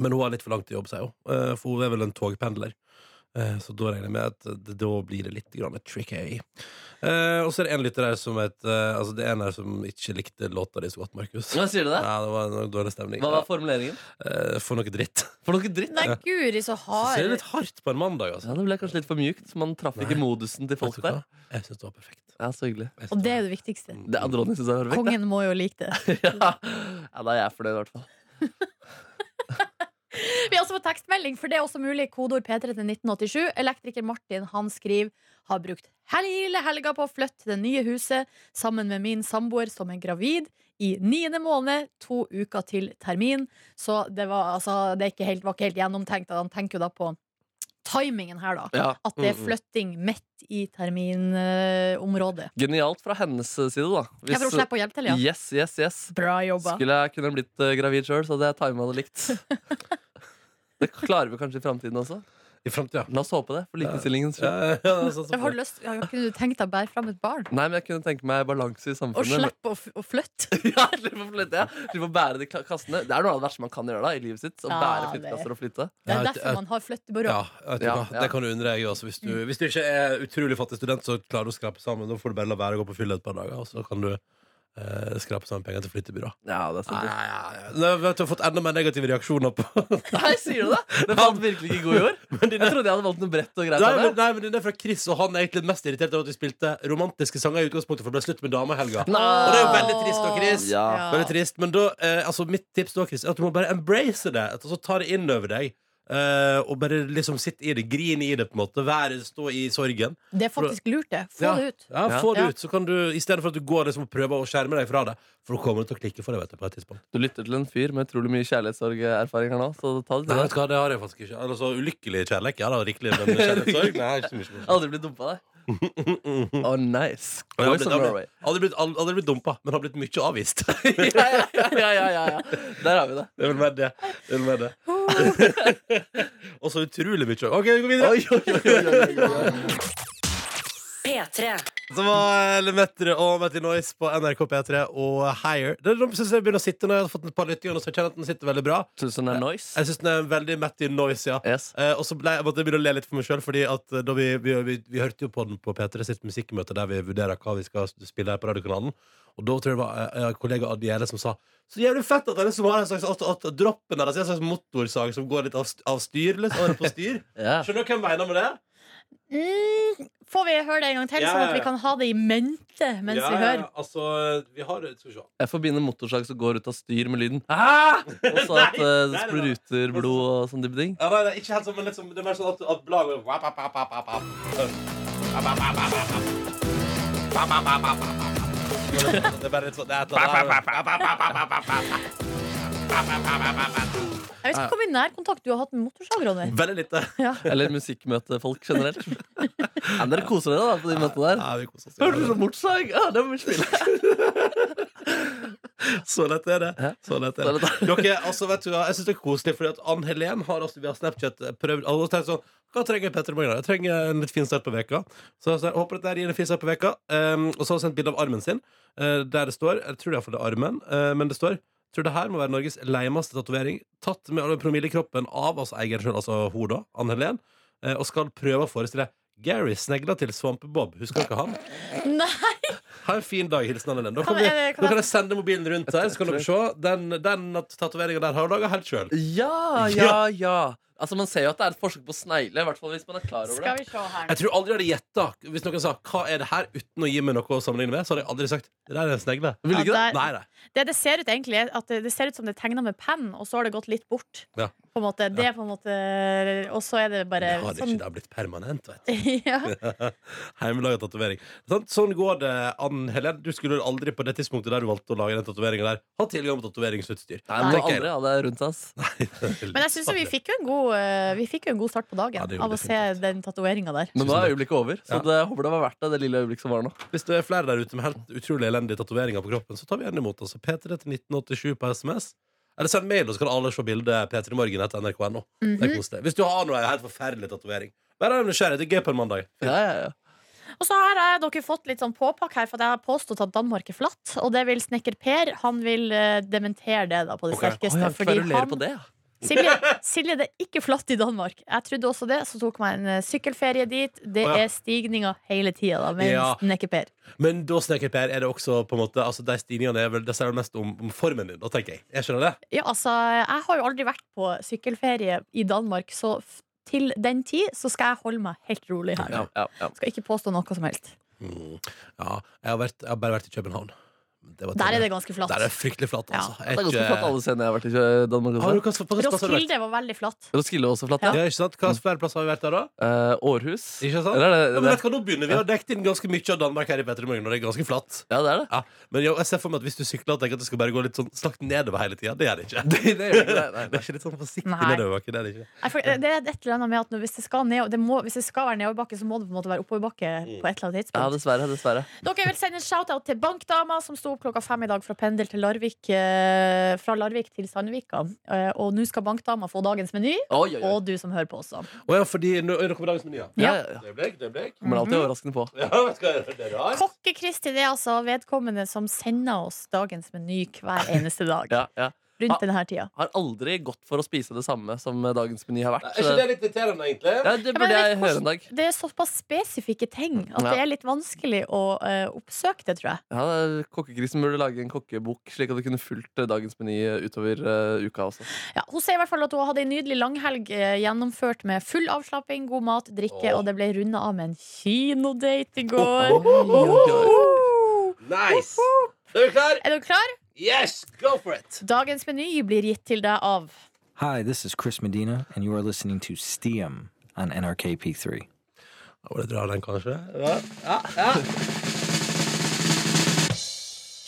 B: Men hun har litt for langt til jobb, sier hun. Eh, For hun er vel en togpendler. Eh, Så da regner jeg med at det- da blir det litt grann tricky. Eh, Og så er det en lytter her som het eh, Altså det er en her som ikke likte låta di så godt, Markus.
C: Hva sier du det?
B: Ja, det var en dårlig stemning.
C: Hva var formuleringen?
B: Eh, For noe dritt.
C: For noe dritt.
D: Nei, guri, så
B: Så det er
D: hard.
B: litt hardt på en mandag, altså.
C: Ja, det ble kanskje litt for mjukt. Man traff ikke
B: Nei.
C: modusen til folk
B: Vet du
C: der.
B: hva? Jeg syns det var perfekt.
C: Ja, så hyggelig.
B: Jeg synes Mm.
D: Og det
B: var-
D: er jo det viktigste.
C: Det er Ronny syns jeg var perfekt.
D: Kongen må jo like
C: da.
D: det.
C: Ja. ja, da er jeg fornøyd, i hvert fall.
D: Vi har også fått tekstmelding, for det er også mulig. Kodeord P3 til 1987. Elektriker Martin han skriver har brukt hele helga på å flytte til det nye huset sammen med min samboer som er gravid i niende måned, to uker til termin. Så det var, altså, det er ikke helt, var ikke helt gjennomtenkt. Han tenker jo da på timingen her, da.
C: Ja.
D: At det er
B: Mm, mm.
D: flytting midt i terminområdet.
C: Genialt fra hennes side, da. Hvis-
D: Jeg får slippe å hjelpe til, ja.
C: Yes, yes, yes.
D: Bra jobba.
C: Skulle jeg kunne blitt eh, gravid sjøl, så hadde jeg timet det likt. Det klarer vi kanskje i framtiden også.
B: I framtida.
C: La oss håpe det, for likestillingens skyld.
B: Ja, ja, det er sånn som-
D: Har du lyst, ja, kunne du tenkt deg å bære fram et barn?
C: Nei, men jeg kunne tenke meg balanse i
D: Og
C: samfunnet.
D: slippe å, f å flytte?
C: Ja, slippe å flytte, ja. Slippe å bære de ka- kassene. Det er noe av det verste man kan gjøre da i livet sitt. Å bære
D: Ja, det-
C: flyttekasser og flytte.
D: Det
B: Ja,
D: er
B: et- et-
D: derfor man har flyttebyrå.
B: Ja, vet du
C: Ja,
B: hva?
C: ja.
B: det kan du undre deg også. Hvis du, hvis du ikke er utrolig fattig student, så klarer du å skrape sammen. Da får du bare la være å gå på fylla et par dager, og så kan du eh, skrape sammen penger til flyttebyrå.
C: Ja, det er
B: Nei,
C: sant.
B: Nå vet du, jeg har fått enda mer negative reaksjoner på
C: Nei, sier du det? Det falt virkelig ikke i god jord. Jeg trodde jeg hadde valgt noe bredt og greit.
B: Nei,
C: av
B: men,
C: det.
B: nei, men den er fra Chris, og han er egentlig mest irritert over at vi spilte romantiske sanger i utgangspunktet, for det ble slutt med dama i helga.
C: Nei.
B: Og det er jo veldig trist da, Chris.
C: Ja.
B: Veldig trist, men da, eh, altså mitt tips da, Chris, er at du må bare embrace det. Og så ta det inn over deg. eh, og bare liksom sitte i det, grine i det, på en måte. Være, stå i sorgen.
D: Det er faktisk lurt, det. Få
B: Ja.
D: det ut.
B: Ja,
C: Ja.
B: få det
D: Ja.
B: ut, så kan du I stedet for at du går liksom og prøver å skjerme deg fra det For da kommer det til å klikke for deg vet du, på et tidspunkt
C: Du lytter til en fyr med utrolig mye kjærlighetssorgerfaring her nå, så ta det
B: Nei,
C: til
B: vet
C: deg.
B: du hva, det har jeg faktisk ikke Altså, ulykkelig kjærlek, ja da, riktig Men kjærlighetssorg, nei, ikke så mye
C: Jeg har Aldri blitt dumpa, deg. Å, nice.
B: Men jeg har
C: Boys
B: blitt-
C: of
B: jeg har
C: Norway.
B: blitt- Aldri blitt, aldri, aldri blitt dumpa, men har blitt mye avvist Det
C: ja, ja, ja, ja, ja, ja. Der har vi det.
B: er vel mer det, det, er vel mer det. Og så utrolig mye Ok, vi går videre
C: Oi, oi, oi, oi, oi, oi.
A: P3.
B: Så var Lemetre og Matty Noise på NRK P3 og Higher Det er de som synes jeg begynner å sitte når jeg har fått et par lyttinger Nå så kjenner jeg at den sitter veldig bra
C: Synes den er nice?
B: Jeg synes den er veldig Matty Noise, ja
C: Yes.
B: Eh, og så ble, jeg måtte jeg begynne å le litt for meg sjøl, Fordi at eh, da vi, vi, vi, vi hørte jo på den på P3 sitt musikkmøte, der vi vurderer hva vi skal spille her på radiokanalen. Og da tror jeg det var eh, eh, kollega Adiele som sa så jævlig fett at det er liksom har en slags at, at droppen altså, deres er en slags motorsag som går litt av, st- av styr. Liksom, av på styr.
C: Ja.
B: Skjønner du hva jeg mener med det?
D: Mm, får vi høre det en gang til,
B: Ja,
D: sånn
B: ja,
D: at
B: ja.
D: vi kan ha det i mente mens
B: ja,
D: vi hører?
B: ja, Altså, vi har Skal vi se.
C: Jeg forbinder motorsag som går ut av styr med lyden ah! Og så at
B: Nei, nei,
C: eh, det
B: nei, nei.
C: spruter blod og sånn type ting.
B: Ja, nei, det er ikke helt sånn, men liksom, det er mer sånn at, at bladet går wap, wap, wap, wap, wap. Wap, wap, wap, wap, wap. Wap, wap, wap, wap, wap, wap. Det er bare litt sånn Det er et eller annet
D: Jeg vet ikke hvor mye nærkontakt du har hatt med motorsag, Ronny.
B: Veldig lite.
D: Ja.
C: Eller musikkmøtefolk generelt. Ja, men dere koser dere da på de møtene der.
B: Ja, vi koser oss.
C: Hørte du om motorsag? Ja, det må vi spille.
B: Så lett er det.
C: Hæ?
B: Så lett er
C: Så
B: det. Dere, altså, vet du, hva, jeg synes det er koselig, fordi at Ann-Helen har altså via Snapchat prøvd alle har tenkt sånn hva trenger Petter i morgen? da? Jeg trenger en litt fin start på veka. Så jeg sa, jeg håper dette her gir en fin start på veka. Um, og så har hun sendt bilde av armen sin, eh, der det står Jeg tror iallfall det er armen, eh, men det står Tror det her må være Norges leimeste tatovering, tatt med alle promillekroppen av altså eieren sjøl, altså hun da, Ann-Helen, eh, og skal prøve å forestille Gary snegla til Svampebob. Husker dere han?
D: Nei!
B: Ha en fin dag, hilsen Anne Lene. Da
D: Kan
B: kan, vi,
D: jeg- kan jeg-
B: da kan jeg sende mobilen rundt der, så kan dere se. Den, den tatoveringa der har du laga helt sjøl.
C: Ja, ja, ja. Altså, Man ser jo at det er et forsøk på å snegle, i hvert fall hvis man er klar over det.
D: Skal vi se her.
B: Jeg tror aldri jeg hadde gjetta hvis noen sa 'hva er det her', uten å gi meg noe å sammenligne med. Så hadde jeg aldri sagt 'det der er en snegle'.
C: Vil du ikke det?
D: Ja, der-
B: Nei, nei.
D: Det det ser ut egentlig er at det, det ser ut som det er tegna med penn, og så har det gått litt bort.
B: Ja.
D: På en måte, det er på en måte Og så er det
B: Det
D: bare
B: har
D: sånn-
B: det ikke det har blitt permanent, vet du.
D: ja.
B: Hjemmelaga tatovering. Sant? Sånn går det, Ann Helen. Du skulle aldri på det tidspunktet der du valgte å lage den tatoveringa der, ha tilgang på tatoveringsutstyr.
C: Nei, man må aldri ha det rundt seg. ass.
D: Men jeg syns vi fikk jo en god eh, Vi fikk jo en god start på dagen
B: Ja, det gjorde
D: av å
B: det
D: se den tatoveringa der.
C: Men nå er øyeblikket over, så
B: Ja.
C: det, jeg håper det var verdt det. det lille øyeblikket som var nå
B: Hvis det er flere der ute med helt utrolig elendige tatoveringer på kroppen, så tar vi gjerne imot. Altså P3 til 1987 på SMS. Eller send mail, og så kan alle se bildet p3morgen etter nrk.no.
D: Mhm.
B: Det er koselig. Hvis du har noe helt forferdelig tatovering. Bare vær nysgjerrig. Det er gøy på en mandag.
C: Ja, ja, ja.
D: Og så har jeg, dere fått litt sånn påpakk her, for at jeg har påstått at Danmark er flatt. Og det vil snekker Per. Han vil eh, dementere det da på det
B: Ok.
C: Å,
D: sterkeste.
C: jeg
D: fordi
C: kverulerer
D: han
C: på det, ja.
D: Silje, Silje, det er ikke flatt i Danmark. Jeg trodde også det, så tok meg en eh, sykkelferie dit. Det
B: Å, ja.
D: er stigninger hele tida, da, mens
B: Ja.
D: den er ikke per.
B: Men da, Snekker Per, er det også på en måte Altså, de stigningene er vel Det sier vel mest om, om formen din, da, tenker jeg. Jeg skjønner det.
D: Ja, altså, jeg har jo aldri vært på sykkelferie i Danmark, så f- til den tid så skal jeg holde meg helt rolig her.
C: Ja, ja, ja.
D: Skal ikke påstå noe som helst.
B: Mm. Ja. Jeg har, vært, jeg har bare vært i København. Det var
D: Der er det ganske flatt.
B: Der er det fryktelig flatt,
D: Ja.
B: altså.
C: Det er ganske flatt alle scenene jeg har vært i eh, Danmark.
B: Har
C: Også.
B: du hva slags plass har du vært?
D: Roskilde Mm. var veldig flatt.
C: Roskilde er også flatt, ja.
B: Ja, ikke sant? Hva slags flere plasser har vi vært der, da?
C: Eh, Århus.
B: Ikke sant?
C: Eller er det,
B: Ja, men
C: det,
B: vet du hva, nå begynner Vi Vi har dekket inn ganske mye av Danmark her i Petter i morgen, og det er ganske flatt.
C: ja, det er det.
B: Ja, men jeg, jeg ser for meg at hvis du sykler og tenker at det skal bare gå litt sånn slakt nedover hele tida, det gjør det ikke.
C: Det, det gjør ikke det.
B: Det
C: Nei, nei.
B: er ikke litt sånn forsiktig
D: Nei.
B: nedoverbakke. Det er det ikke.
D: Nei, for Det er et eller annet med at når- hvis det skal, ned, det må, hvis det skal være nedoverbakke, så må det på en måte være oppoverbakke på et eller annet
C: Ja,
D: tidspunkt.
C: dessverre. dessverre
D: Dere vil sende en shout-out til bankdama som sto opp klokka fem i dag fra pendel til Larvik. eh, Fra Larvik til Sandvika. Eh, Og nå skal bankdama få dagens meny,
C: Oi, oi, oi.
D: og du som hører på også.
B: Å ja, fordi nå er det noe med dagens meny, ja.
C: Ja, ja, ja.
B: Det ble, det ble.
C: Kommer alltid overraskende på.
B: Ja, vet du hva, det er rart.
D: Kokke-Kristin er altså vedkommende som sender oss dagens meny hver eneste dag.
C: Ja, ja.
D: Rundt denne her tida.
C: Har aldri gått for å spise det samme som dagens meny har vært.
B: Er ikke det litt irriterende, egentlig?
C: Ja, det
D: men
C: burde
D: jeg
C: jeg
D: vet
C: høre en dag.
D: Det er såpass spesifikke ting at
C: Ja.
D: det er litt vanskelig å eh, oppsøke det, tror jeg.
C: Ja, Kokkekrisen burde lage en kokkebok, slik at du kunne fulgt eh, dagens meny eh, utover eh, uka også.
D: Ja, hun sier i hvert fall at hun hadde en nydelig langhelg eh, gjennomført med full avslapping, god mat, drikke,
B: Åh.
D: og det ble runda av med en kinodate i går.
B: Nice! Er vi klar?
D: Er du klar?
B: Yes, go for it!
D: Dagens meny blir gitt til deg av
E: Hi, this is Chris Medina, and you are listening to STEAM on NRK 3
B: Da må du dra den, kanskje. Ja.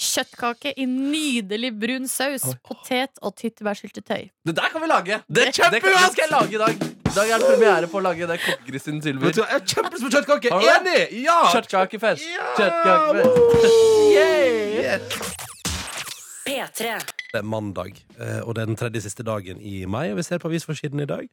D: kjøttkake i nydelig brun saus, potet og tyttebærsyltetøy.
C: Det der kan vi lage! Det
B: er kjempebra!
C: det kan- det skal jeg lage i dag. I dag er det premiere på å lage det kokkekrisen
B: Vet du
C: tilbyr.
B: hva, Jeg er kjempelyst på kjøttkake!
C: Har du det?
B: Enig! Ja!
C: Kjøttkakefest!
B: Ja!
C: Kjøttkakefest.
A: P3.
B: Det er mandag, eh, og det er den tredje siste dagen i mai. Og vi ser på avisforsiden i dag.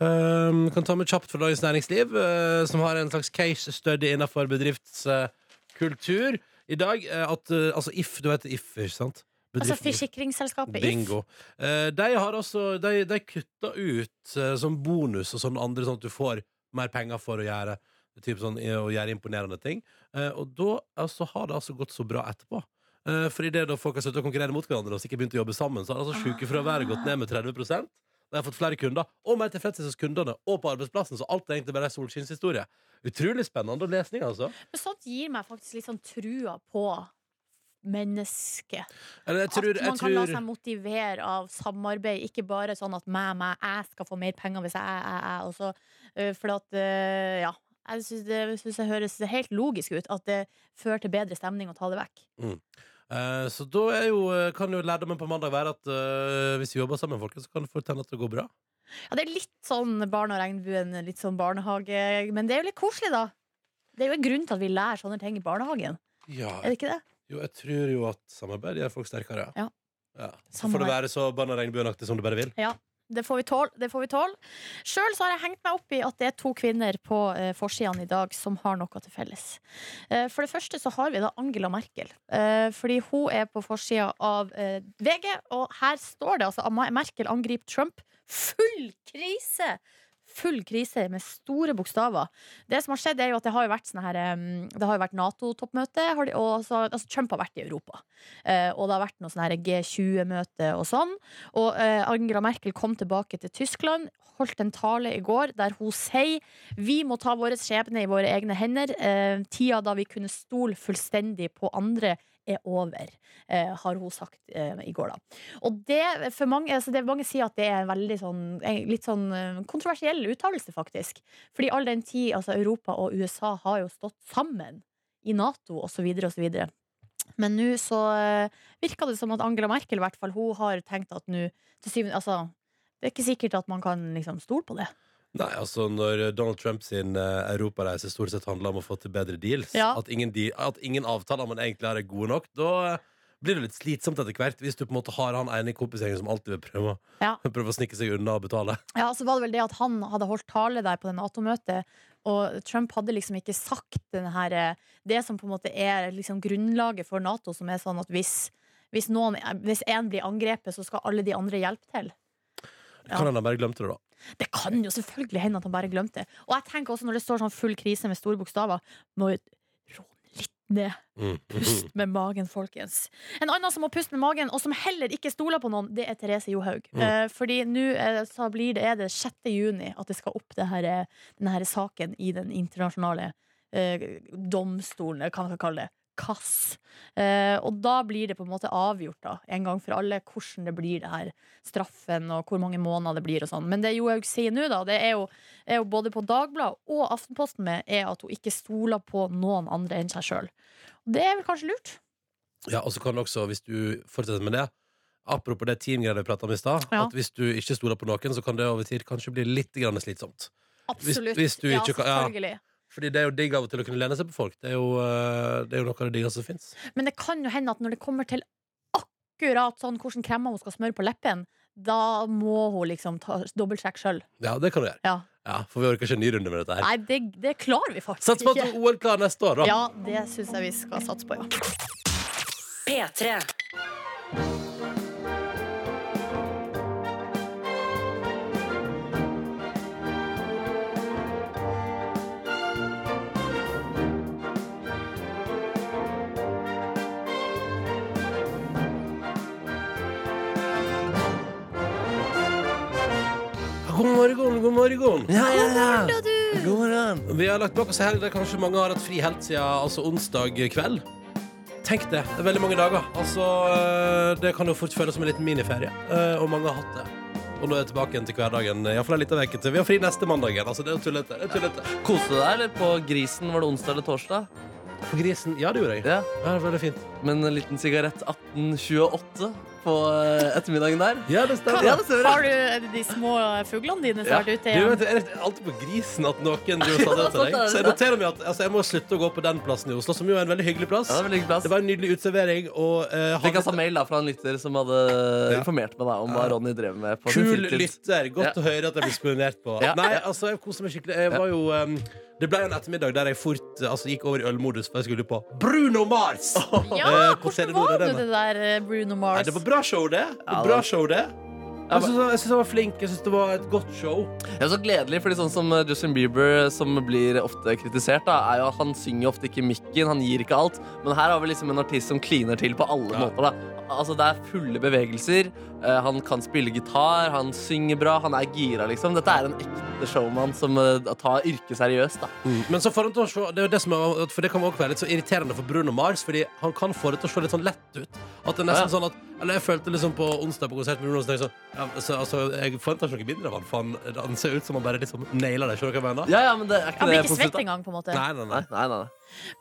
B: Um, kan ta med kjapt fra Dagens Næringsliv, eh, som har en slags case study innenfor bedriftskultur i dag. eh, at, eh, altså If, du vet If, ikke sant?
D: Altså
B: Bedriften-
D: forsikringsselskapet If.
B: Bingo. Eh, de har altså De, de kutta ut eh, som bonus og sånn andre, sånn at du får mer penger for å gjøre typ sånn, eh, å gjøre imponerende ting. Eh, og da altså, har det altså gått så bra etterpå.
D: Ah.
B: Eh, for idet folk har sluttet å konkurrere mot hverandre og sikkert begynt å jobbe sammen, så har altså sjukefraværet gått ned med 30 Og jeg har fått flere kunder, og mer tilfredshet hos kundene og på arbeidsplassen. Så alt er egentlig bare en solskinnshistorie. Utrolig spennende lesning, altså.
D: Men sånt gir meg faktisk litt sånn trua på mennesket.
B: Eller, jeg tror,
D: at man
B: jeg
D: kan la
B: tror,
D: seg motivere av samarbeid, ikke bare sånn at meg, meg, jeg skal få mer penger hvis jeg, jeg, jeg, og så øh, For at øh, Ja. Jeg syns det, jeg synes det høres helt logisk ut at det fører til bedre stemning å ta det vekk.
B: Eh, så da er jo, eh, kan jo lærdommen på mandag være at eh, hvis vi jobber sammen, folkens, så kan det fort hende at det går bra.
D: Ja, Det er litt sånn barn og regnbuen, litt sånn barnehage, men det er jo litt koselig, da. Det er jo en grunn til at vi lærer sånne ting i barnehagen.
B: Ja,
D: Er det ikke det?
B: Jo, jeg tror jo at samarbeid gjør folk sterkere.
D: Ja.
B: Ja. Så
D: Samarbeid.
B: får det være så barn- og regnbueaktig som du bare vil.
D: Det får vi tåle. det får vi tål. Sjøl har jeg hengt meg opp i at det er to kvinner på eh, forsidene i dag som har noe til felles. Eh, for det første så har vi da Angela Merkel. Eh, fordi hun er på forsida av eh, VG, og her står det altså at Merkel angriper Trump. Full krise! Full krise med store bokstaver. Det som har skjedd er jo at Det har jo vært, sånne her, eh, det har jo vært Nato-toppmøte, har de- og så, altså Trump har vært i Europa. Eh, og det har vært noe sånn her G20-møte og sånn. Og eh, Angela Merkel kom tilbake til Tyskland, holdt en tale i går der hun sier vi må ta vår skjebne i våre egne hender. Eh, tida da vi kunne stole fullstendig på andre er over, eh, har hun sagt eh, i går, da. Og det, for mange, altså det mange sier at det er en veldig sånn, en litt sånn eh, kontroversiell uttalelse, faktisk. Fordi all den tid altså Europa og USA har jo stått sammen i Nato osv. osv. Men nå så eh, virka det som at Angela Merkel i hvert fall, hun har tenkt at nå til syvende, altså, Det er ikke sikkert at man kan liksom stole på det.
B: Nei, altså Når Donald Trump sin eh, europareise stort sett handler om å få til bedre deals,
D: Ja.
B: at, ingen de, at ingen avtaler man egentlig har, er gode nok, da eh, blir det litt slitsomt etter hvert. Hvis du på en måte har han ene i kompisgjengen som alltid vil prøve, å-
D: Ja.
B: prøve å snike seg unna og betale.
D: Ja, så var det vel det at Han hadde holdt tale der på det Nato-møtet, og Trump hadde liksom ikke sagt den her, eh, det som på en måte er liksom grunnlaget for Nato, som er sånn at hvis hvis noen- hvis én blir angrepet, så skal alle de andre hjelpe til. Ja.
B: Kan han ha bare glemte det, da?
D: Det kan jo selvfølgelig hende at han bare glemte det. Og jeg tenker også når det står sånn full krise med store bokstaver, må jo roe litt ned.
B: Mm.
D: Pust med magen, folkens. En annen som må puste med magen, og som heller ikke stoler på noen, det er Therese Johaug.
B: Mm.
D: Eh, fordi nå eh, så blir det, er det 6. juni at det skal opp det her, eh, denne her saken i den internasjonale eh, domstolen, eller hva man skal kalle det. Kass. Eh, og da blir det på en måte avgjort, da, en gang for alle, hvordan det blir det her. Straffen og hvor mange måneder det blir og sånn. Men det Johaug sier nå, da, det er jo, er jo både på Dagbladet og Aftenposten med, er at hun ikke stoler på noen andre enn seg sjøl. Det er vel kanskje lurt.
B: Ja, og så kan det også, hvis du fortsetter med det Apropos det teamgreiene vi prata om i stad.
D: Ja.
B: At hvis du ikke stoler på noen, så kan det over tid kanskje bli litt grann slitsomt.
D: Absolutt.
B: hvis du
D: ja,
B: ikke kan- ja.
D: selvfølgelig.
B: Fordi det er jo digg av og til å kunne lene seg på folk. Det er jo, eh, det er jo noe av det diggeste som fins.
D: Men det kan jo hende at når det kommer til akkurat sånn hvordan kremmer hun skal smøre på leppen, da må hun liksom ta- dobbeltsjekke sjøl.
B: Ja, det kan du gjøre.
D: Ja.
B: Ja, For vi orker ikke en ny runde med dette her.
D: Nei, det, det klarer vi faktisk
B: Sats på at
D: ikke.
B: OL klarer neste år, da.
D: Ja, det syns jeg vi skal satse på, ja.
A: P3.
B: God morgen, god morgen.
C: Ja, ja, ja.
D: Ja, du!
C: God morgen.
B: Vi har lagt bak oss en helg der kanskje mange har hatt fri helt siden altså onsdag kveld. Tenk det. Det er veldig mange dager. Altså, eh, det kan jo fort føles som en liten miniferie, eh, og mange har hatt det. Og nå er jeg tilbake igjen til hverdagen. eh, Iallfall en liten uke til. Vi har fri neste mandag igjen. Altså, det er jo tullete. Det er tullete.
C: Koste du deg, eller? På Grisen var det onsdag eller torsdag?
B: På grisen Ja, det gjorde jeg.
C: Ja.
B: Ja, det var veldig fint.
C: Men en liten sigarett 1828 på eh, ettermiddagen der?
B: Ja, det stemmer.
C: Ja, det stemmer.
D: Har du er det de små fuglene dine som
C: Ja.
D: har vært ute
B: Du
D: igjen?
B: vet, er det alltid på grisen at noen driver og sa det til deg? Så jeg noterer meg at altså, jeg må slutte å gå på den plassen i Oslo, som jo er en veldig hyggelig plass.
C: Ja, det var veldig plass.
B: Det var en nydelig uteservering, og eh, han-
C: Fikk altså mail da fra en lytter som hadde
B: Ja.
C: informert meg da om hva Ronny drev med. på sin
B: Kul
C: fritid.
B: lytter. Godt
C: Ja.
B: å høre at jeg blir spionert på.
C: Ja.
B: Nei,
C: Ja.
B: altså, jeg koser meg skikkelig. Jeg var jo um, Det ble en ettermiddag der jeg fort altså, gikk over i ølmodus, for jeg skulle på Bruno Mars!
D: Ja,
B: Eh, på Telenor,
D: hvordan var
B: det
D: nå
B: med.
D: det der eh, Bruno
B: Nei,
D: Mars?
B: det var bra show, det.
C: Ja,
B: Bra
C: det-
B: show, det. Jeg syns han- jeg syns han var flink. Jeg syns det var et godt show.
C: Det er så gledelig, fordi sånn som eh, Justin Bieber, som blir ofte kritisert, da, er jo at han synger ofte ikke mikken, han gir ikke alt. Men her har vi liksom en artist som kliner til på alle
B: Ja.
C: måter. da. Altså, Det er fulle bevegelser. eh, Han kan spille gitar, han synger bra, han er gira, liksom. Dette er en ekte showman som eh, tar yrket seriøst, da.
B: Men så får han til å se, det er jo det som er, for det kan også være litt så irriterende for Bruno Mars, fordi han kan få det til å se litt sånn lett ut. At det er nesten
C: Ja.
B: sånn at Eller jeg følte liksom på onsdag på konsert med Bruno Mars, tenkte jeg sånn, ja, altså, altså, jeg forventer ikke noe mindre av han, for han, han ser ut som han bare liksom nailer det. Skjønner du hva jeg mener?
C: Ja, ja, men det er ikke
D: Han blir
C: det
D: ikke
C: positivt,
D: svett
C: da.
D: engang, på en måte.
B: Nei, nei, nei.
C: Nei, nei, nei.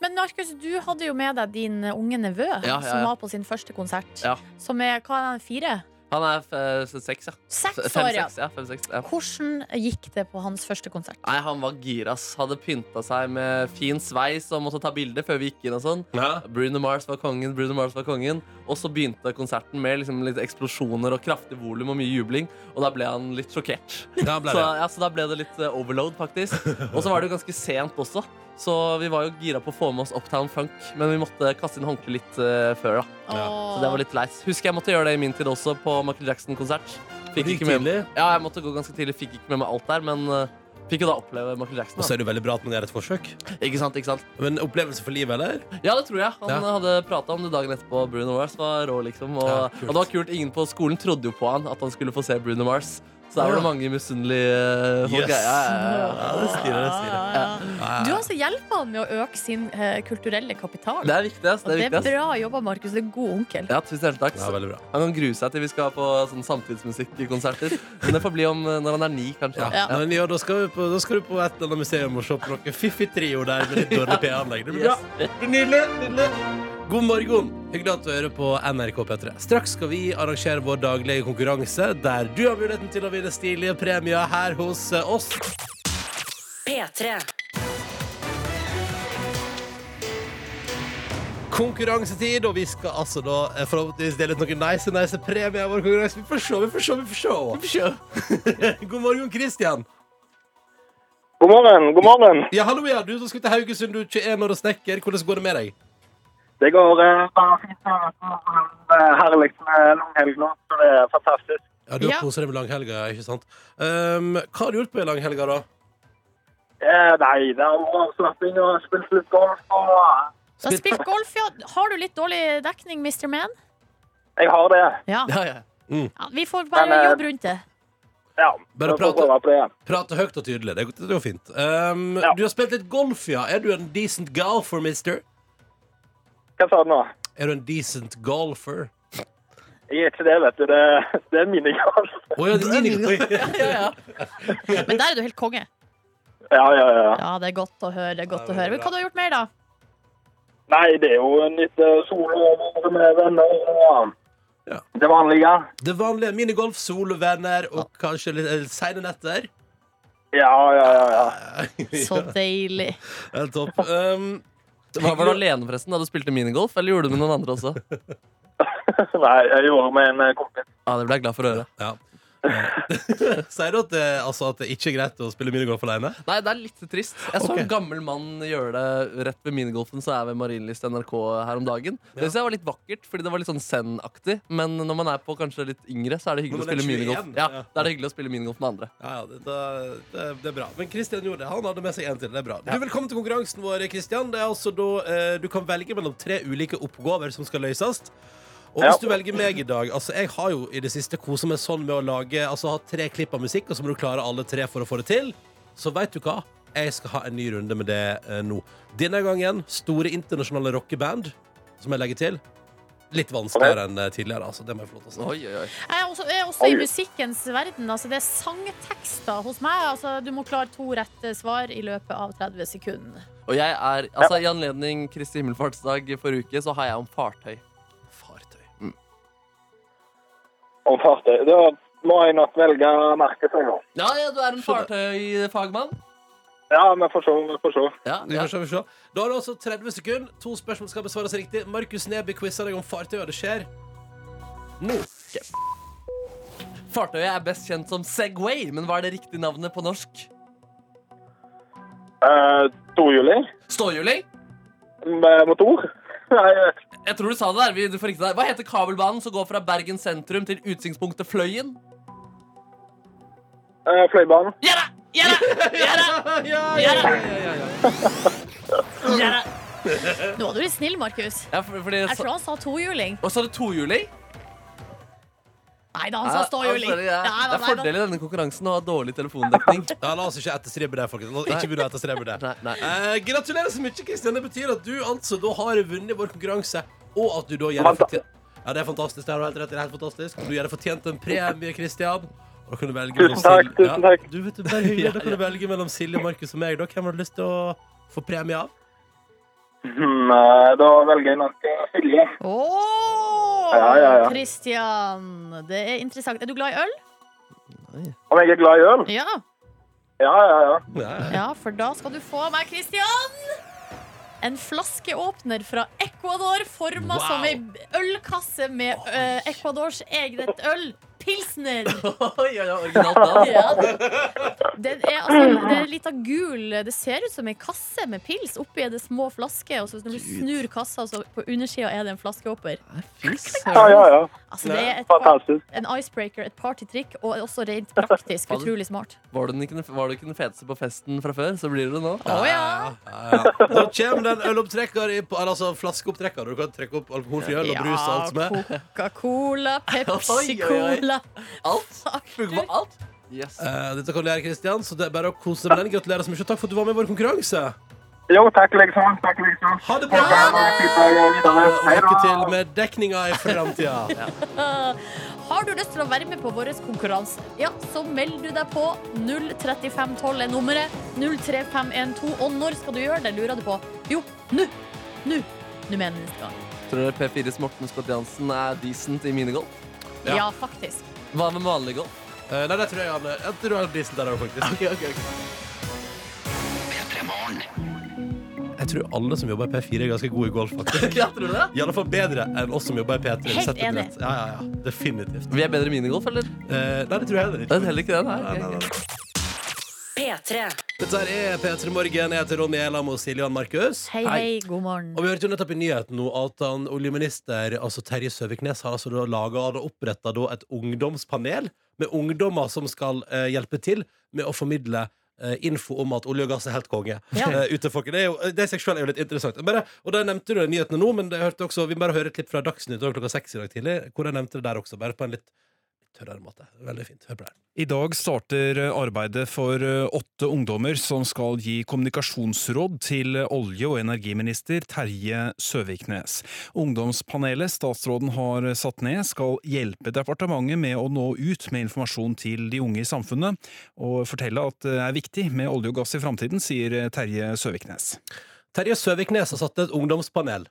D: Men Markus, du hadde jo med deg din unge nevø,
C: ja,
D: som
C: ja.
D: var på sin første konsert.
C: Ja.
D: Som er hva er han, fire?
C: Han er f eh, seks, ja.
D: Seks
C: F-
D: år, ja.
C: Fem-seks, ja. Fem, seks, ja.
D: Hvordan gikk det på hans første konsert?
C: Nei, han var gira, ass. Hadde pynta seg med fin sveis og måtte ta bilde før vi gikk inn og sånn. Bruno Mars var kongen, Bruno Mars var kongen. Og så begynte konserten med liksom litt eksplosjoner og kraftig volum og mye jubling. Og da ble han litt sjokkert.
B: Da ble
C: Så,
B: det.
C: ja, så da ble det litt eh, overload, faktisk. Og så var det jo ganske sent også. Så vi var jo gira på å få med oss Uptown Funk, men vi måtte kaste inn håndkleet litt eh, før. da
D: Åh.
C: Så det var litt leis. Husker jeg måtte gjøre det i min tid også, på Michael Jackson-konsert.
B: Og det gikk
C: med
B: tidlig.
C: Ja, jeg måtte gå ganske tidlig, fikk ikke med meg alt der, men eh, fikk jo da oppleve Michael Jackson.
B: Og så
C: Da.
B: er det jo veldig bra at man gjør et forsøk.
C: Ikke sant, ikke sant?
B: Men opplevelse for livet, eller?
C: Ja, det tror jeg. Han
B: Ja.
C: hadde prata om det dagen etterpå. Bruno Mars var rå, liksom. Og,
B: Ja, kult.
C: og det var kult. Ingen på skolen trodde jo på han at han skulle få se Bruno Mars. Så der var
B: Ja.
C: det mange misunnelige eh,
B: Yes.
C: folk. Ja, ja, ja, ja.
B: Ja, det styrer, det styrer.
D: Ja, ja, ja. Du altså hjelper han med å øke sin eh, kulturelle kapital.
C: Det er viktig, ass.
D: Og
C: Det er
D: det
C: viktig,
D: er
C: ass.
D: bra jobba, Markus. Det er god onkel.
C: Ja, tusen hjertelig takk.
B: Ja, veldig bra.
C: han kan grue seg til vi skal på sånn samtidsmusikkonserter. Men det får bli om eh, når han er ni, kanskje.
B: Ja.
C: da. Ja.
B: Men ja, da skal, vi på, da skal du på et eller annet museum og se på noe fiffig trio der med litt dårlig PA-anlegg. Det blir bra. Det blir Nydelig. nydelig. God morgen. Hyggelig at du hører på NRK P3. Straks skal vi arrangere vår daglige konkurranse, der du har muligheten til å vinne stilige premier her hos eh, oss.
A: P3.
B: Konkurransetid, og vi skal altså da eh, forhåpentligvis dele ut noen nice, nice premier i vår konkurranse. Vi får se, vi får se, vi får se. God morgen, Christian.
F: God morgen, god morgen.
B: Ja, hallo, ja. Du som skal til Haugesund, du er 21 år og snekker. Hvordan går det med deg?
F: Det går eh, bare fint. og jeg kommer på en, eh, Herlig med langhelg nå, så det er fantastisk.
B: Ja, Du har
D: Ja.
B: koset deg med langhelga, ikke sant? Ehm, hva har du gjort på i langhelga, da?
F: Eh, nei, det er avslapping og spilt litt golf. Og eh,
D: Du har spilt golf, ja. Har du litt dårlig dekning, Mr. Man?
F: jeg har det.
D: Ja.
C: Ja, ja.
D: ja vi får bare
F: Men, eh,
D: jobbe rundt det.
F: Ja.
B: Bare
F: så får jeg
B: prate.
F: prøve på det.
B: Prate høyt og tydelig. Det det går fint. Ehm,
F: Ja.
B: Du har spilt litt golf, ja. Er du en decent golfer, mister?
F: Hva sa du nå?
B: Er du en decent golfer?
F: Jeg er ikke det, vet du. Det, det er minigolf.
B: Å ja, det er din- Oi.
D: Men der er du helt konge.
F: Ja, ja, ja.
D: Ja, det er godt å høre. det er godt
B: Ja,
D: å høre. Men hva du har gjort mer, da?
F: Nei, det er jo en litt eh, solo over med venner og
B: Ja.
F: det vanlige.
B: Det vanlige. Minigolf, solvenner og kanskje litt eh, seine netter.
F: Ja, ja, ja. ja.
D: Så deilig.
B: Helt topp. Ehm,
C: Var, var du alene forresten da du spilte minigolf, eller gjorde du det med noen andre også?
F: Nei, jeg gjorde med en eh, kompis.
C: Ja, Det ble jeg glad for å høre.
B: ja. Sier du at det, altså, at det ikke er greit å spille minigolf alene?
C: Nei, det er litt trist. Jeg så
B: Ok.
C: en gammel mann gjøre det rett ved minigolfen, så er jeg ved Marienlyst NRK her om dagen. Det synes jeg var litt vakkert, fordi det var litt sånn zen-aktig. Men når man er på kanskje litt yngre, så er det hyggelig å
B: Når man er
C: spille
B: 21,
C: minigolf. Ja,
B: ja.
C: da er det hyggelig å spille minigolf med andre.
B: Ja, ja, det, det, det, det er bra. Men Kristian gjorde det. Han hadde med seg en til. Det er bra. Du, velkommen til konkurransen vår, Kristian. Det er altså da eh, du kan velge mellom tre ulike oppgaver som skal løses. Og hvis
F: Ja.
B: du velger meg i dag Altså, jeg har jo i det siste kosa meg sånn med å lage Altså, ha tre klipp av musikk, og så må du klare alle tre for å få det til. Så veit du hva? Jeg skal ha en ny runde med det eh, nå. Denne gangen store internasjonale rockeband, som jeg legger til. Litt vanskeligere enn eh, tidligere, altså. Det må jeg få lov til å si.
C: Oi, oi, oi.
D: Jeg er også, jeg er også i musikkens verden. Altså, det er sangtekster hos meg. Altså, du må klare to rette svar i løpet av 30 sekunder.
C: Og jeg er, altså I anledning Kristi himmelfartsdag forrige uke så har jeg om fartøy.
B: Fartøy.
C: Mm.
F: Om fartøy. Da må jeg nok velge merkesanger.
C: Ja, ja, du er en fartøyfagmann.
F: Ja, vi får se, vi får se.
C: Ja,
B: Vi
C: ja.
B: får se, vi får se. Da har du altså 30 sekunder. To spørsmål skal besvares riktig. Markus Neby quizer deg om fartøy, og det skjer nå.
C: Fartøyet er best kjent som Segway, men hva er det riktige navnet på norsk?
F: Eh, Tohjuling?
C: Ståhjuling?
F: Med motor? Nei, jeg vet ikke.
C: Jeg tror du sa det der. Vi, du får riktig der. Hva heter kabelbanen som går fra Bergen sentrum til utsiktspunktet Fløyen?
F: eh, fløibanen.
D: Nå var du litt snill, Markus.
C: Ja, for, fordi
D: Jeg
C: så,
D: tror han sa tohjuling.
C: og så er det tohjuling.
D: Nei da, han sa ståhjuling.
C: Altså, det er-
D: Nei,
C: Det er
D: nei, nei,
C: fordel i denne konkurransen å ha dårlig telefondekning.
B: Ja, la oss ikke etterstrebe det, folkens. La oss ikke begynne å etterstrebe det.
C: Nei, nei.
B: Eh, gratulerer så mye, Kristian. Det betyr at du altså da har vunnet vår konkurranse, og at du da gjør det
F: Fanta-
B: fortjent. Ja, det er fantastisk. Det har du helt rett i. Det er helt fantastisk. Du gjør det fortjent en premie, Kristian. Og da kan du velge mellom
F: Tusen takk,
B: Silje-
F: tusen
B: Ja,
F: takk.
B: du vet, det er bare hyggelig. Da kan du velge mellom Silje, Markus og meg. Da. Hvem har du lyst til å få premie av?
F: Hmm, eh, da velger jeg nok eh, Silje.
D: Åh,
F: Ja, ja, ja.
D: Christian, det er interessant. Er du glad i øl?
F: Om jeg er glad i øl?
D: Ja,
F: Ja, ja, ja.
B: Nei.
D: ja for da skal du få av meg, Christian! En flaskeåpner fra Ecuador forma
B: Wow.
D: som ei ølkasse med eh, Ecuadors eget øl. Pilsner.
C: Oi, ja, ja, originalt da.
D: Ja. Den er, altså, det er litt av gul Det ser ut som ei kasse med pils. Oppi er det små flasker, og så når du snur kassa, så på undersida er det en flaskeåpner.
C: Fy
F: ja,
C: søren.
F: ja, ja.
D: Altså, det er et par
F: Fantastisk.
D: en icebreaker, et partytrikk, og også rent praktisk. Utrolig smart.
C: Var du, den ikke, var du ikke den feteste på festen fra før, så blir du det nå.
D: Å ja!
B: Ja, ja. Da kommer den ølopptrekker i eller Altså flaskeopptrekker. Du kan trekke opp alkoholfri øl og brus og alt som er.
D: Coca-Cola,
C: Oi, oi, oi.
D: Pepsi-Cola
C: Alt. Funker på alt. Yes.
B: Eh, dette kan du gjøre, Kristian, så det er bare å kose seg med den. Gratulerer så mye, og takk for at du var med i vår konkurranse.
F: Jo, takk liksom. Takk liksom.
B: Ha det bra! Og
F: Hei
B: lykke til
F: da.
B: med dekninga i framtida.
D: Har du lyst til å være med på vår konkurranse, ja, så meld du deg på. 03512 er nummeret. 03512. Og når skal du gjøre det, lurer du på? Jo, nå! Nå! Nå mener jeg neste gang.
C: Tror dere P4s Morten Scott Jansen er decent i minigolf?
B: Ja.
D: Ja, faktisk.
C: Hva med vanlig golf?
B: Eh, Nei, det tror jeg han er. Jeg tror han er decent der òg, faktisk. Jeg tror alle som jobber i P4, er ganske gode i golf, faktisk.
C: Ja, tror du det?
B: I alle fall bedre enn oss som jobber i P3.
D: Helt
B: Sett det
D: enig.
B: rett. Ja, ja, ja. Definitivt.
C: Vi er bedre i minigolf, eller?
B: Eh, Nei, det tror jeg heller
C: Det
B: ikke.
C: er heller ikke det. Nei.
B: Nei, nei, nei.
A: P3.
B: Dette her er P3 Morgen. Jeg heter Ronny Elam og Siljan Markus.
D: Hei,
C: Hei.
D: hei, god morgen.
B: Og vi hørte jo nettopp i nyheten nå at han, oljeminister altså Terje Søviknes har altså da laget og oppretta et ungdomspanel med ungdommer som skal eh, hjelpe til med å formidle eh, info om at olje og gass er helt konge.
D: Ja.
B: Eh, ute, folket. det, er jo, det i seg selv er jo litt interessant. Bare, og der nevnte du de nyhetene nå, men jeg hørte også, vi må bare høre et klipp fra Dagsnytt også klokka seks i dag tidlig, hvor jeg nevnte det der også, bare på en litt tørrere måte. Veldig fint. Hør på det her.
G: I dag starter arbeidet for eh, åtte ungdommer som skal gi kommunikasjonsråd til olje- og energiminister Terje Søviknes. Ungdomspanelet statsråden har satt ned skal hjelpe departementet med å nå ut med informasjon til de unge i samfunnet, og fortelle at det er viktig med olje og gass i framtiden, sier Terje Søviknes.
B: Terje Søviknes har satt ned et ungdomspanel.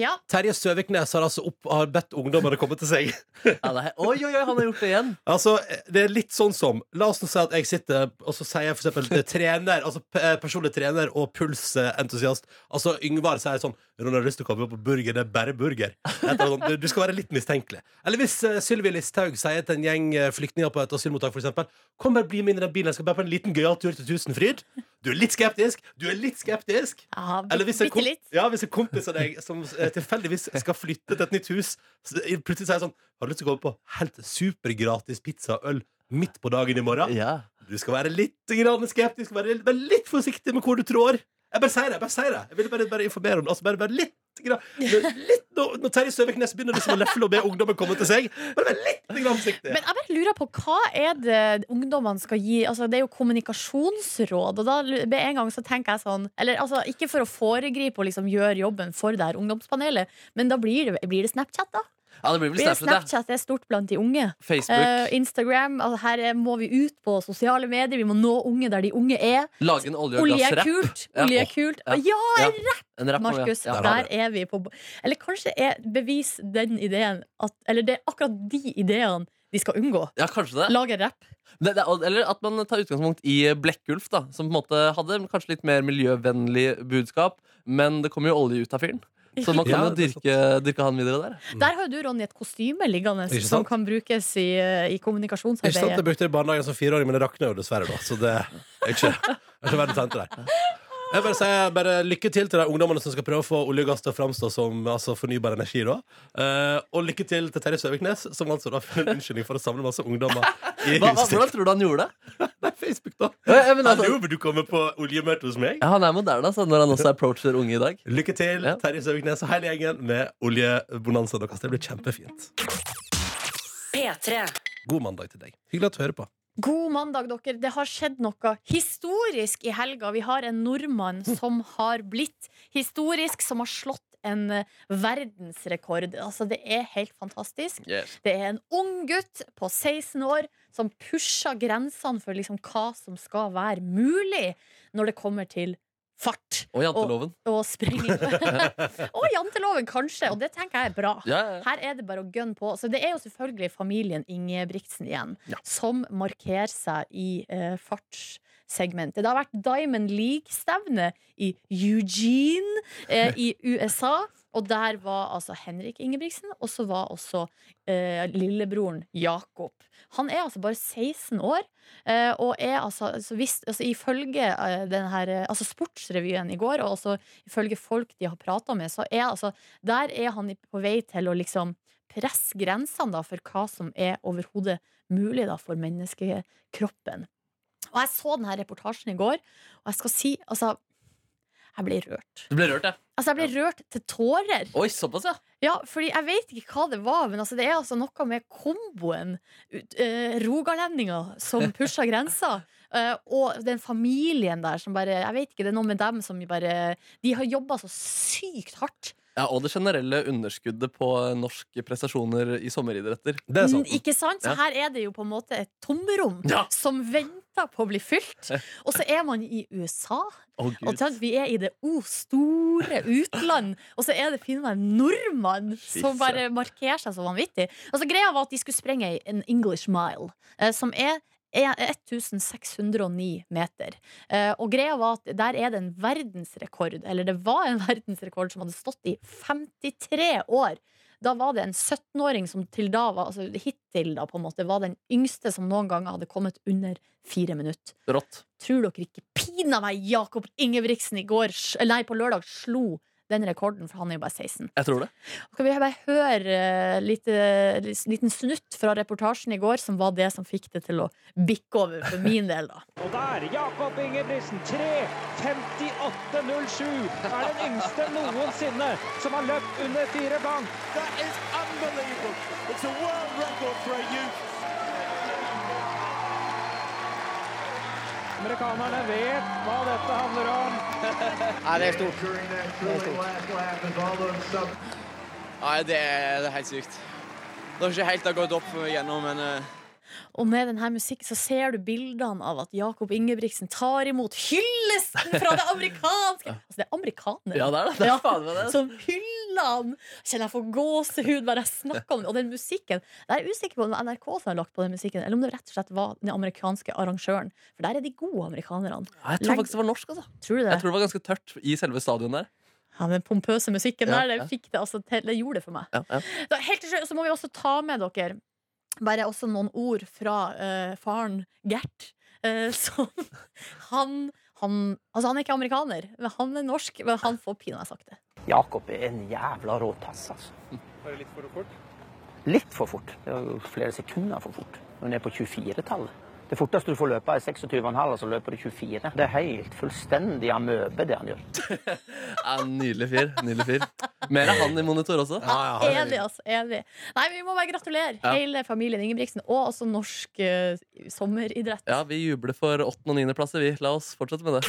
D: Ja,
B: Terje Søviknes har altså opp, har bedt ungdommene komme til seg.
C: Ja, det er, oi, oi, oi, han har gjort det igjen!
B: Altså, det er litt sånn som La oss nå si at jeg sitter og så sier jeg for eksempel det er trener, altså p- eh, personlig trener og pulsentusiast. Altså Yngvar sier sånn 'Ronny, har du lyst til å komme på burger? Det er bare burger.' Et eller annet sånt. Du- Du skal være litt mistenkelig. Eller hvis eh, Sylvi Listhaug sier til en gjeng eh, flyktninger på et asylmottak for eksempel 'Kom bare bli med inn i den bilen, jeg skal bare på en liten gøyal tur til Tusenfryd'. Du er litt skeptisk. Du er litt skeptisk.
D: ja
B: Eller hvis en,
D: bitte
B: kom,
D: litt.
B: ja, hvis en kompis av deg som eh, tilfeldigvis skal flytte til et nytt hus, så plutselig sier sånn Har du lyst til å komme på helt supergratis pizza og øl midt på dagen i morgen?
C: Ja.
B: Du skal være litt grann skeptisk, være litt, være litt forsiktig med hvor du trår. Jeg bare sier det. Jeg bare sier det Jeg ville bare, bare informere om det. Altså bare, bare litt grann, når- litt, når, når Terje Søviknes begynner liksom å lefle og be ungdommen komme til seg, bare vær litt grann forsiktig.
D: Men jeg bare lurer på, hva er det ungdommene skal gi? Altså, det er jo kommunikasjonsråd, og da lu- med en gang så tenker jeg sånn Eller altså, ikke for å foregripe og liksom gjøre jobben for det her ungdomspanelet, men da blir det, blir det Snapchat, da.
C: ja, det blir vel
D: Blir det
C: Snapchat, ja.
D: Snapchat det er stort blant de unge. Eh,
C: Facebook.
D: Instagram. Altså, her er- må vi ut på sosiale medier. Vi må nå unge der de unge er.
C: Lage en olje- og
D: Olje er
C: gassrapp.
D: kult!
C: Ja.
D: Olje er kult.
C: Ja.
D: Ja,
C: Ja.
D: en
C: En rapp, ja.
D: Markus,
C: Ja.
D: der er vi på bo- Eller kanskje er bevis den ideen at Eller det er akkurat de ideene de skal unngå.
C: Ja, kanskje det.
D: Lage rapp.
C: det, det. er- Eller at man tar utgangspunkt i Blekkulf, da, som på en måte hadde kanskje litt mer miljøvennlig budskap, men det kommer jo olje ut av fyren. Så man kan
B: Ja,
C: jo
B: det er
C: dyrke, dyrke han videre der.
D: Der har jo du, Ronny, et kostyme liggende
B: Ikke
D: som
B: sant?
D: kan brukes i, eh, i
B: Ikke sant, Jeg
D: kommunikasjonsarbeidet.
B: brukte det i barnehagen som fireåring, men det rakna jo dessverre, da. Så det er ikke, det er ikke verdens ende der. Jeg vil si bare Lykke til til de ungdommene som skal prøve å få olje og gass til å framstå som altså, fornybar energi. da Eh, Og lykke til til Terje Søviknes, som altså da har funnet en unnskyldning for å samle masse ungdommer i
C: Hva, hva,
B: huset sitt.
C: hvordan tror du han gjorde det?
B: Nei,
C: Facebook, da.
H: Ja,
C: men altså-
H: Hallo, vil du komme på oljemøte hos meg?
C: Ja, han er moderne altså, når han også approacher unge i dag.
H: Lykke til,
C: Ja.
H: Terje Søviknes og hele gjengen med oljebonanza deres. Det blir kjempefint.
A: P3.
H: God mandag til deg. Hyggelig at du hører på.
D: God mandag, dere. Det har skjedd noe historisk i helga. Vi har en nordmann som har blitt historisk, som har slått en eh, verdensrekord. Altså, det er helt fantastisk. Det er en ung gutt på 16 år som pusher grensene for liksom hva som skal være mulig når det kommer til fart
C: Og janteloven.
D: og sprenging. og janteloven, kanskje. Og det tenker jeg er bra.
C: Ja, ja, ja.
D: Her er det bare å gønne på. Så det er jo selvfølgelig familien Ingebrigtsen igjen som markerer seg i eh, fartssegmentet. Det har vært Diamond League-stevne i Eugene eh, i USA. Og der var altså Henrik Ingebrigtsen, og så var også eh, lillebroren Jakob. Han er altså bare 16 år, eh, og er altså, altså, hvis, altså ifølge eh, den her, eh, altså Sportsrevyen i går, og også ifølge folk de har prata med, så er altså der er han i- på vei til å liksom presse grensene da, for hva som er overhodet mulig da, for menneskekroppen. Og jeg så denne reportasjen i går, og jeg skal si altså, jeg ble rørt.
C: Du ble rørt, ja.
D: Altså, jeg ble rørt til tårer.
C: Oi, såpass, ja.
D: Ja, fordi jeg vet ikke hva det var, men altså, det er altså noe med komboen ut- eh, rogalendinger som pusher grensa, eh, og den familien der som bare Jeg vet ikke, det er noe med dem som bare De har jobba så sykt hardt.
C: ja. Og det generelle underskuddet på norske prestasjoner i sommeridretter.
H: Det er
D: Mm,
H: sant.
D: Ikke sant? Så
C: Ja.
D: her er det jo på en måte et tomrom
C: Ja.
D: som venter på å bli fylt. Og så er man i USA.
C: Å,
D: Og
C: Gud.
D: tenk, vi er i det o store utland, og så er det finne meg en nordmann som bare markerer seg så vanvittig. Altså, greia var at de skulle sprenge ei- en English mile, eh, som er er 1609 meter. Eh, og greia var at der er det en verdensrekord, eller det var en verdensrekord som hadde stått i 53 år. Da var det en 17-åring som til da var, altså hittil da på en måte, var den yngste som noen gang hadde kommet under fire minutter.
C: Rått.
D: Tror dere ikke pina meg Jakob Ingebrigtsen i går sj- Nei, på lørdag slo den rekorden, for han er jo bare 16.
C: Jeg tror det.
D: Skal vi bare høre uh, litt, eh, lis- liten snutt fra reportasjen i går, som var det som fikk det til å bikke over for min del, da.
I: Og der, Jakob Ingebrigtsen, 3.58,07 er den yngste noensinne som har løpt under fire blank. Amerikanerne vet hva dette handler om.
D: Og med denne musikken så ser du bildene av at Jakob Ingebrigtsen tar imot hyllesten fra det amerikanske Altså, det er amerikanere.
C: Ja, det er det. det, er
D: Ja.
C: faen meg det.
D: Som hyller han. Kjenner jeg får gåsehud bare jeg snakker om det. Og den musikken. Jeg er usikker på om det var NRK som har lagt på den musikken, eller om det rett og slett var den amerikanske arrangøren. For der er de gode amerikanerne.
C: Ja, Jeg tror faktisk det var norsk. altså
D: Tror du det?
C: Jeg tror det var ganske tørt i selve stadion der.
D: Ja, den pompøse musikken
C: Ja,
D: der,
C: ja.
D: det, fikk det, altså, til, det gjorde det for meg.
C: Ja, ja.
D: Da, helt til slutt så må vi også ta med dere bare også noen ord fra eh, faren Gert. eh, som han, han Altså, han er ikke amerikaner, men han er norsk. Men han får pinadø sagt det.
J: Jakob er en jævla rå tass, altså. Var det litt for fort? Litt for fort. Det var jo flere sekunder for fort. Når den er på 24-tallet. Det forteste du får løpe, er 26,5, og så løper du 24. Det er helt fullstendig amøbe, det han gjør.
C: Ja, nydelig fyr. nydelig fyr Mer av han i monitor også.
D: Enig, altså. Enig. Nei, vi må bare gratulere
C: Ja.
D: hele familien Ingebrigtsen, og også norsk eh, sommeridrett.
C: Ja, Vi jubler for åttende- og niendeplasser, vi. La oss fortsette med det.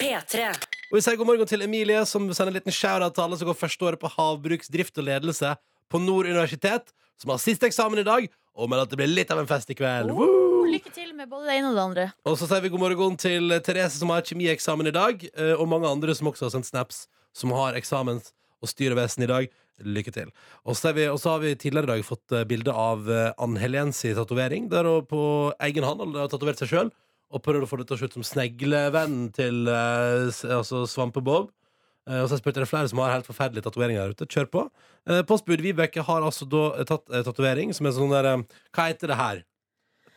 A: P3.
H: Og vi sier god morgen til Emilie, som sender en liten shout-out til alle som går første året på havbruksdrift og ledelse på Nord universitet, som har siste eksamen i dag, og mener at det blir litt av en fest i kveld. Woo!
D: Oh, lykke til med både det ene og det andre.
H: Og så sier vi god morgen til Therese, som har kjemieksamen i dag, eh, og mange andre som også har sendt snaps, som har eksamens- og styrevesen i dag. Lykke til. Og så, er vi, og så har vi tidligere i dag fått eh, bilde av eh, Ann Helens tatovering, der hun på egen hånd har tatovert seg sjøl, og prøvd å få det til å se ut som sneglevennen til eh, s- altså Svampebob. Eh, Og så har jeg spurt, er det flere som har helt forferdelige tatoveringer der ute. Kjør på. Eh, Postbud Vibeke har altså da eh, tatt eh, tatovering som er sånn der eh, Hva heter det her?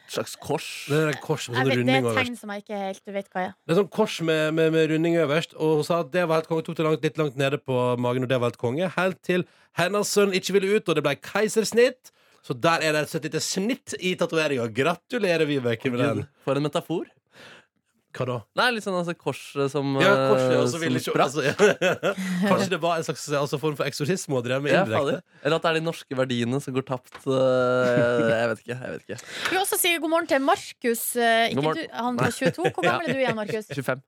C: Et slags kors.
H: Det er et kors med
D: Jeg
H: sånn
D: vet, det er
H: runding
D: et
H: over.
D: tegn som jeg ikke helt vet hva er.
H: Det er sånn kors med, med, med runding øverst, og hun sa at det var helt konge. Tok det langt, litt langt nede på magen, og det var helt konge. Helt til hennes sønn ikke ville ut, og det ble keisersnitt.
B: Så der er det et lite snitt i tatoveringa. Gratulerer, Vibeke, med den.
C: For en metafor.
B: Hva da?
C: Nei, litt sånn altså, korset som,
B: Ja, korset,
C: eh,
B: og så vil
C: som
B: ikke
C: sprakk.
B: altså, ja. Kanskje det var en slags altså, form for eksorsisme hun drev med
C: Ja,
B: indirekte?
C: fader. Eller at det er de norske verdiene som går tapt. eh, Jeg vet ikke. jeg vet ikke
D: Vi vil også si god morgen til Markus. eh,
C: God
D: Ikke
C: morgen.
D: du, han på 22. Hvor gammel er du igjen, Markus?
C: 25.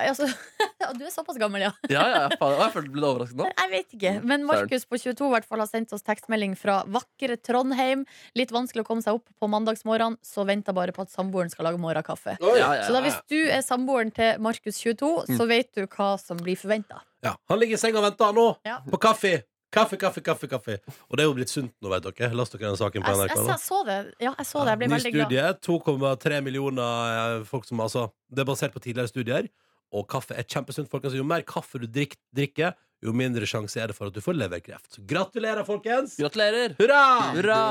D: Altså, du er såpass gammel, ja.
C: Ja, ja, ja fader. Å, Jeg følte ble overrasket nå.
D: Jeg vet ikke.
C: Mm,
D: Men Markus på 22 i hvert fall har sendt oss tekstmelding fra vakre Trondheim. Litt vanskelig å komme seg opp på mandagsmorgen, så venter bare på at samboeren skal lage morgenkaffe.
C: Ja, ja, ja. Mm.
D: Så da hvis du er samboeren til Markus 22, så vet du hva som blir forventa.
B: Ja. Han ligger i senga og venter nå,
D: Ja.
C: Mm.
B: på kaffe. Kaffe, kaffe, kaffe. kaffe Og det er jo blitt sunt nå, vet dere. Last dere den saken på
D: Jeg,
B: NRK.
D: jeg,
B: da.
D: jeg så det. Ja, jeg så det. Jeg ble
B: Ny
D: veldig glad.
B: studie. 2,3 millioner eh, folk som altså Det er basert på tidligere studier. Og kaffe er kjempesunt. folkens Jo mer kaffe du drikk, drikker, jo mindre sjanse er det for at du får leverkreft. Så gratulerer, folkens!
C: Gratulerer!
B: Hurra!
C: Hurra!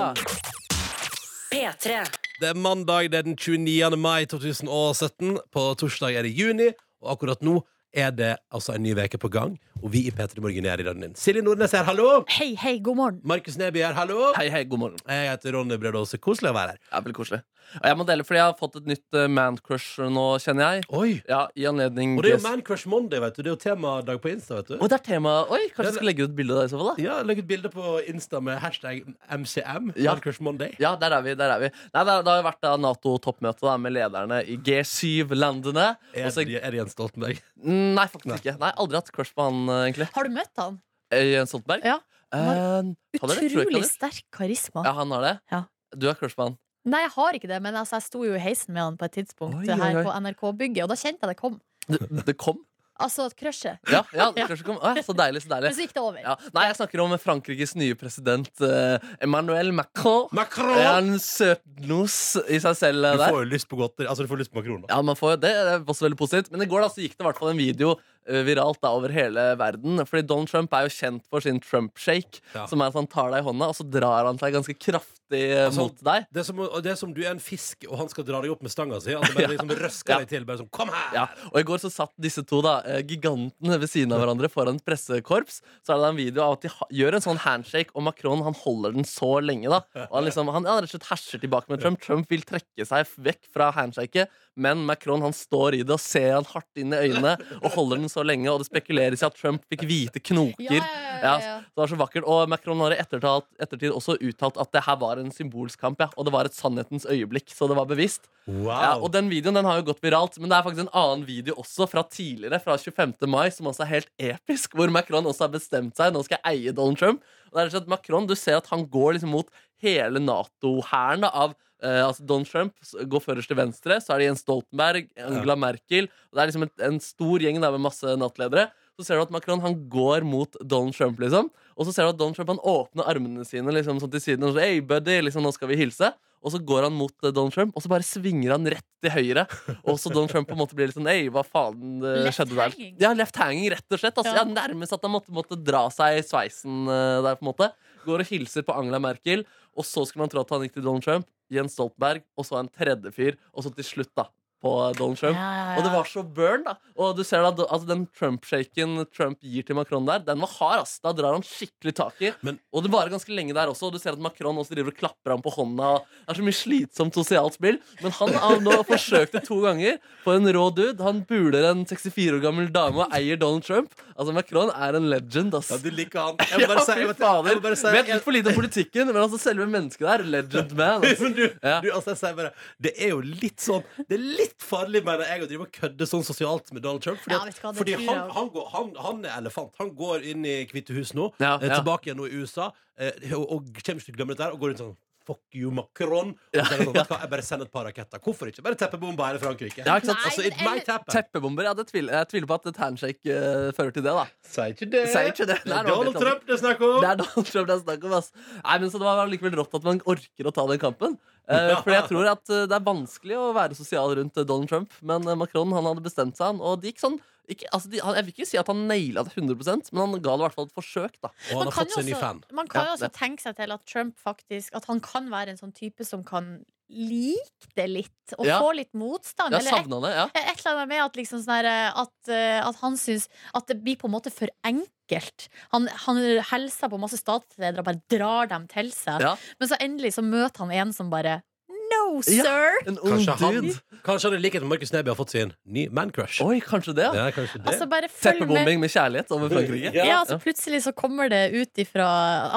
A: P3.
B: Det er mandag, det er den 29. mai 2017. På torsdag er det juni, og akkurat nå er det altså en ny uke på gang. Og vi i P3 Morgen er i den din. Silje Nordnes her, hallo!
D: Hei, hei, god morgen.
B: Markus Neby her, hallo!
C: Hei, hei, god morgen.
B: Jeg heter Ronny Bredåse. Koselig å være her.
C: Det er veldig koselig. Og jeg må dele, fordi jeg har fått et nytt eh, man-crush nå, kjenner jeg.
B: Oi!
C: Ja, i anledning
B: Og det er jo
C: Å,
B: Man Crush Monday, vet du. Det er jo temadag på Insta, vet du.
C: det er tema Oi, kanskje
B: det-
C: jeg skal legge ut bilde av det i så fall, da?
B: Ja, Legg ut bilde på Insta med hashtag MCM.
C: Ja.
B: Man Crush Monday.
C: Ja, der er vi. der er vi Nei, Det, det har jo vært da Nato-toppmøte da, med lederne i G7-landene.
B: Er,
C: Og så-
B: det- er det Jens Stoltenberg?
C: Nei, faktisk ikke. Nei, Aldri hatt crush på han, eh, egentlig.
D: Har du møtt han?
C: Eh, Jens Stoltenberg.
D: Ja.
C: Eh, hadde jeg det? Tror jeg ikke
D: Utrolig
C: hadde.
D: sterk karisma.
C: Ja, han har det.
D: Ja.
C: Du har crush på han.
D: Nei, jeg har ikke det, men altså, jeg sto jo i heisen med han på et tidspunkt
C: Oi, oi,
D: her
C: oi.
D: på NRK-bygget, og da kjente jeg det kom.
C: Det- Det kom.
D: Altså crushet.
C: Ja, ja,
D: Ja.
C: crushet kom. Å, ja, så deilig, så
D: Men
C: deilig.
D: så gikk det over.
C: Ja. Nei, jeg snakker om Frankrikes nye president eh, Emmanuel Macron.
B: Makron!
C: Er han søtnos i seg selv eh,
B: Du
C: der?
B: får jo lyst på godteri. Altså, du får lyst på makron. da.
C: Ja, man får, det er også veldig positivt. Men i går da, så gikk det i hvert fall en video eh, viralt da, over hele verden. Fordi Donald Trump er jo kjent for sin Trump-shake.
B: Ja.
C: Som er at han tar deg i hånda, og så drar han seg ganske kraftig eh,
B: Altså,
C: mot deg.
B: Det er, som, og det er som du er en fisk, og han skal dra deg opp med stanga si. Altså, bare liksom røsker
C: Ja.
B: deg til. Bare sånn, kom her!
C: Ja, og i går så satt disse to da eh, gigantene ved siden av hverandre foran et pressekorps. Så er det da en video av at de ha- gjør en sånn handshake, og Macron han holder den så lenge. da Og Han liksom, han ja, rett og slett herser tilbake med Trump. Trump vil trekke seg f- vekk fra handshaket, men Macron han står i det og ser han hardt inn i øynene og holder den så lenge. Og det spekuleres i at Trump fikk hvite knoker.
D: Ja, ja, ja, ja, ja.
C: så det var så vakkert Og Macron har i ettertalt, ettertid også uttalt at det her var en symbolsk kamp, ja. og det var et sannhetens øyeblikk. Så det var bevisst.
B: Wow!
C: Ja, og den videoen den har jo gått viralt, men det er faktisk en annen video også fra tidligere, fra 25. mai, som også er helt episk, hvor Macron også har bestemt seg. Nå skal jeg eie Donald Trump. Og det er rett og slett Macron, Du ser at han går liksom mot hele Nato-hæren da, av eh, altså Donald Trump s- går først til venstre, så er det Jens Stoltenberg, Angela Merkel og Det er liksom en, en stor gjeng der med masse Nato-ledere. Så ser du at Macron han går mot Donald Trump, liksom. Og så ser du at Donald Trump han åpner armene sine liksom, sånn til siden og så, hey, buddy, liksom, nå skal vi hilse. Og så går han mot eh, Donald Trump, og så bare svinger han rett til høyre. Og så Donald Trump på en måte blir litt sånn Ei, hva faen eh,
D: Left
C: skjedde der?
D: hanging.
C: Ja, left hanging, rett og slett. Altså,
D: Ja.
C: ja. nærmest at han måtte, måtte dra seg i sveisen eh, der, på en måte. Går og hilser på Angela Merkel, og så skulle man tro at han gikk til Donald Trump, Jens Stoltenberg, og så en tredje fyr, og så til slutt, da, på Donald Trump.
D: Ja, ja, ja.
C: Og det var så burn, da. Og du ser da, altså, den Trump-shaken Trump gir til Macron der, den var hard, ass. Da drar han skikkelig tak i.
B: Men-
C: og det varer ganske lenge der også. Og du ser at Macron også driver og klapper ham på hånda. og Det er så mye slitsomt sosialt spill. Men han har nå forsøkt det to ganger på en rå dude. Han buler en 64 år gammel dame og eier Donald Trump. Altså, Macron er en legend, ass.
B: Ja, du liker han. Jeg må bare si,
C: fy
B: jeg vet,
C: fader.
B: jeg må bare si
C: Vet litt for lite om politikken, men altså selve mennesket der, legend man. ass.
B: Men du,
C: Ja.
B: du, altså jeg sier bare Det er jo litt sånn Det er litt farlig, mener jeg, å drive og kødde sånn sosialt med Donald Trump. Fordi,
D: Ja,
B: at-
D: vet du hva, det
B: fordi
D: tror jeg
B: han,
D: også.
B: han, går, han, han er elefant. Han går inn i Hvite hus nå,
C: Ja,
B: eh,
C: ja.
B: tilbake igjen nå i USA, eh, og, og kommer ikke til å glemme dette her, og går rundt sånn Fuck you, Macron. Og
C: Ja,
B: så er det sånn,
C: ja.
B: vet du hva, Jeg bare sender et par raketter. Hvorfor ikke? Bare teppebombe hele Frankrike.
C: Ja, ikke sant?
B: Altså,
D: Nei,
B: it
D: men
B: might happen.
C: Teppebomber. Ja, det tviler, jeg tviler på at et handshake eh, fører til det, da.
B: Sier ikke det.
C: Sier ikke det.
B: Det
C: Nei,
B: er
C: det var
B: Donald
C: litt annet.
B: Trump det er snakk om.
C: Det er Donald Trump det er snakk om. Ass. Nei, men så Det var likevel rått at man orker å ta den kampen. Eh, for jeg tror at eh, Det er vanskelig å være sosial rundt eh, Donald Trump, men eh, Macron han hadde bestemt seg. Han, og det gikk sånn ikke, altså, de, han, Jeg vil ikke si at han naila det 100 men han ga det i hvert fall et forsøk. da
B: Og han har
D: kan
B: fått
D: jo
B: seg en ny
D: også-
B: fan.
D: Man kan
C: Ja,
D: jo også
C: det.
D: tenke seg til at Trump faktisk At han kan være en sånn type som kan like det litt, og
C: Ja.
D: få litt motstand.
C: Jeg
D: eller et
C: savna det, ja.
D: Et eller annet med at, liksom sånn her, eh, at, eh, at han syns at det blir på en måte for enkelt. Han, han hilser på masse statsledere og bare drar dem til seg.
C: Ja.
D: Men så endelig så møter han en som bare No,
C: Ja.
D: sir!
C: En ung
B: Kanskje han,
C: dude.
B: kanskje han i likhet med Markus Neby har fått sin ny mancrush.
C: Oi, kanskje det. ja.
B: Ja, kanskje det.
D: Altså bare følg med.
C: Teppebombing med kjærlighet over Frankrike.
D: Ja, altså Plutselig så kommer det ut ifra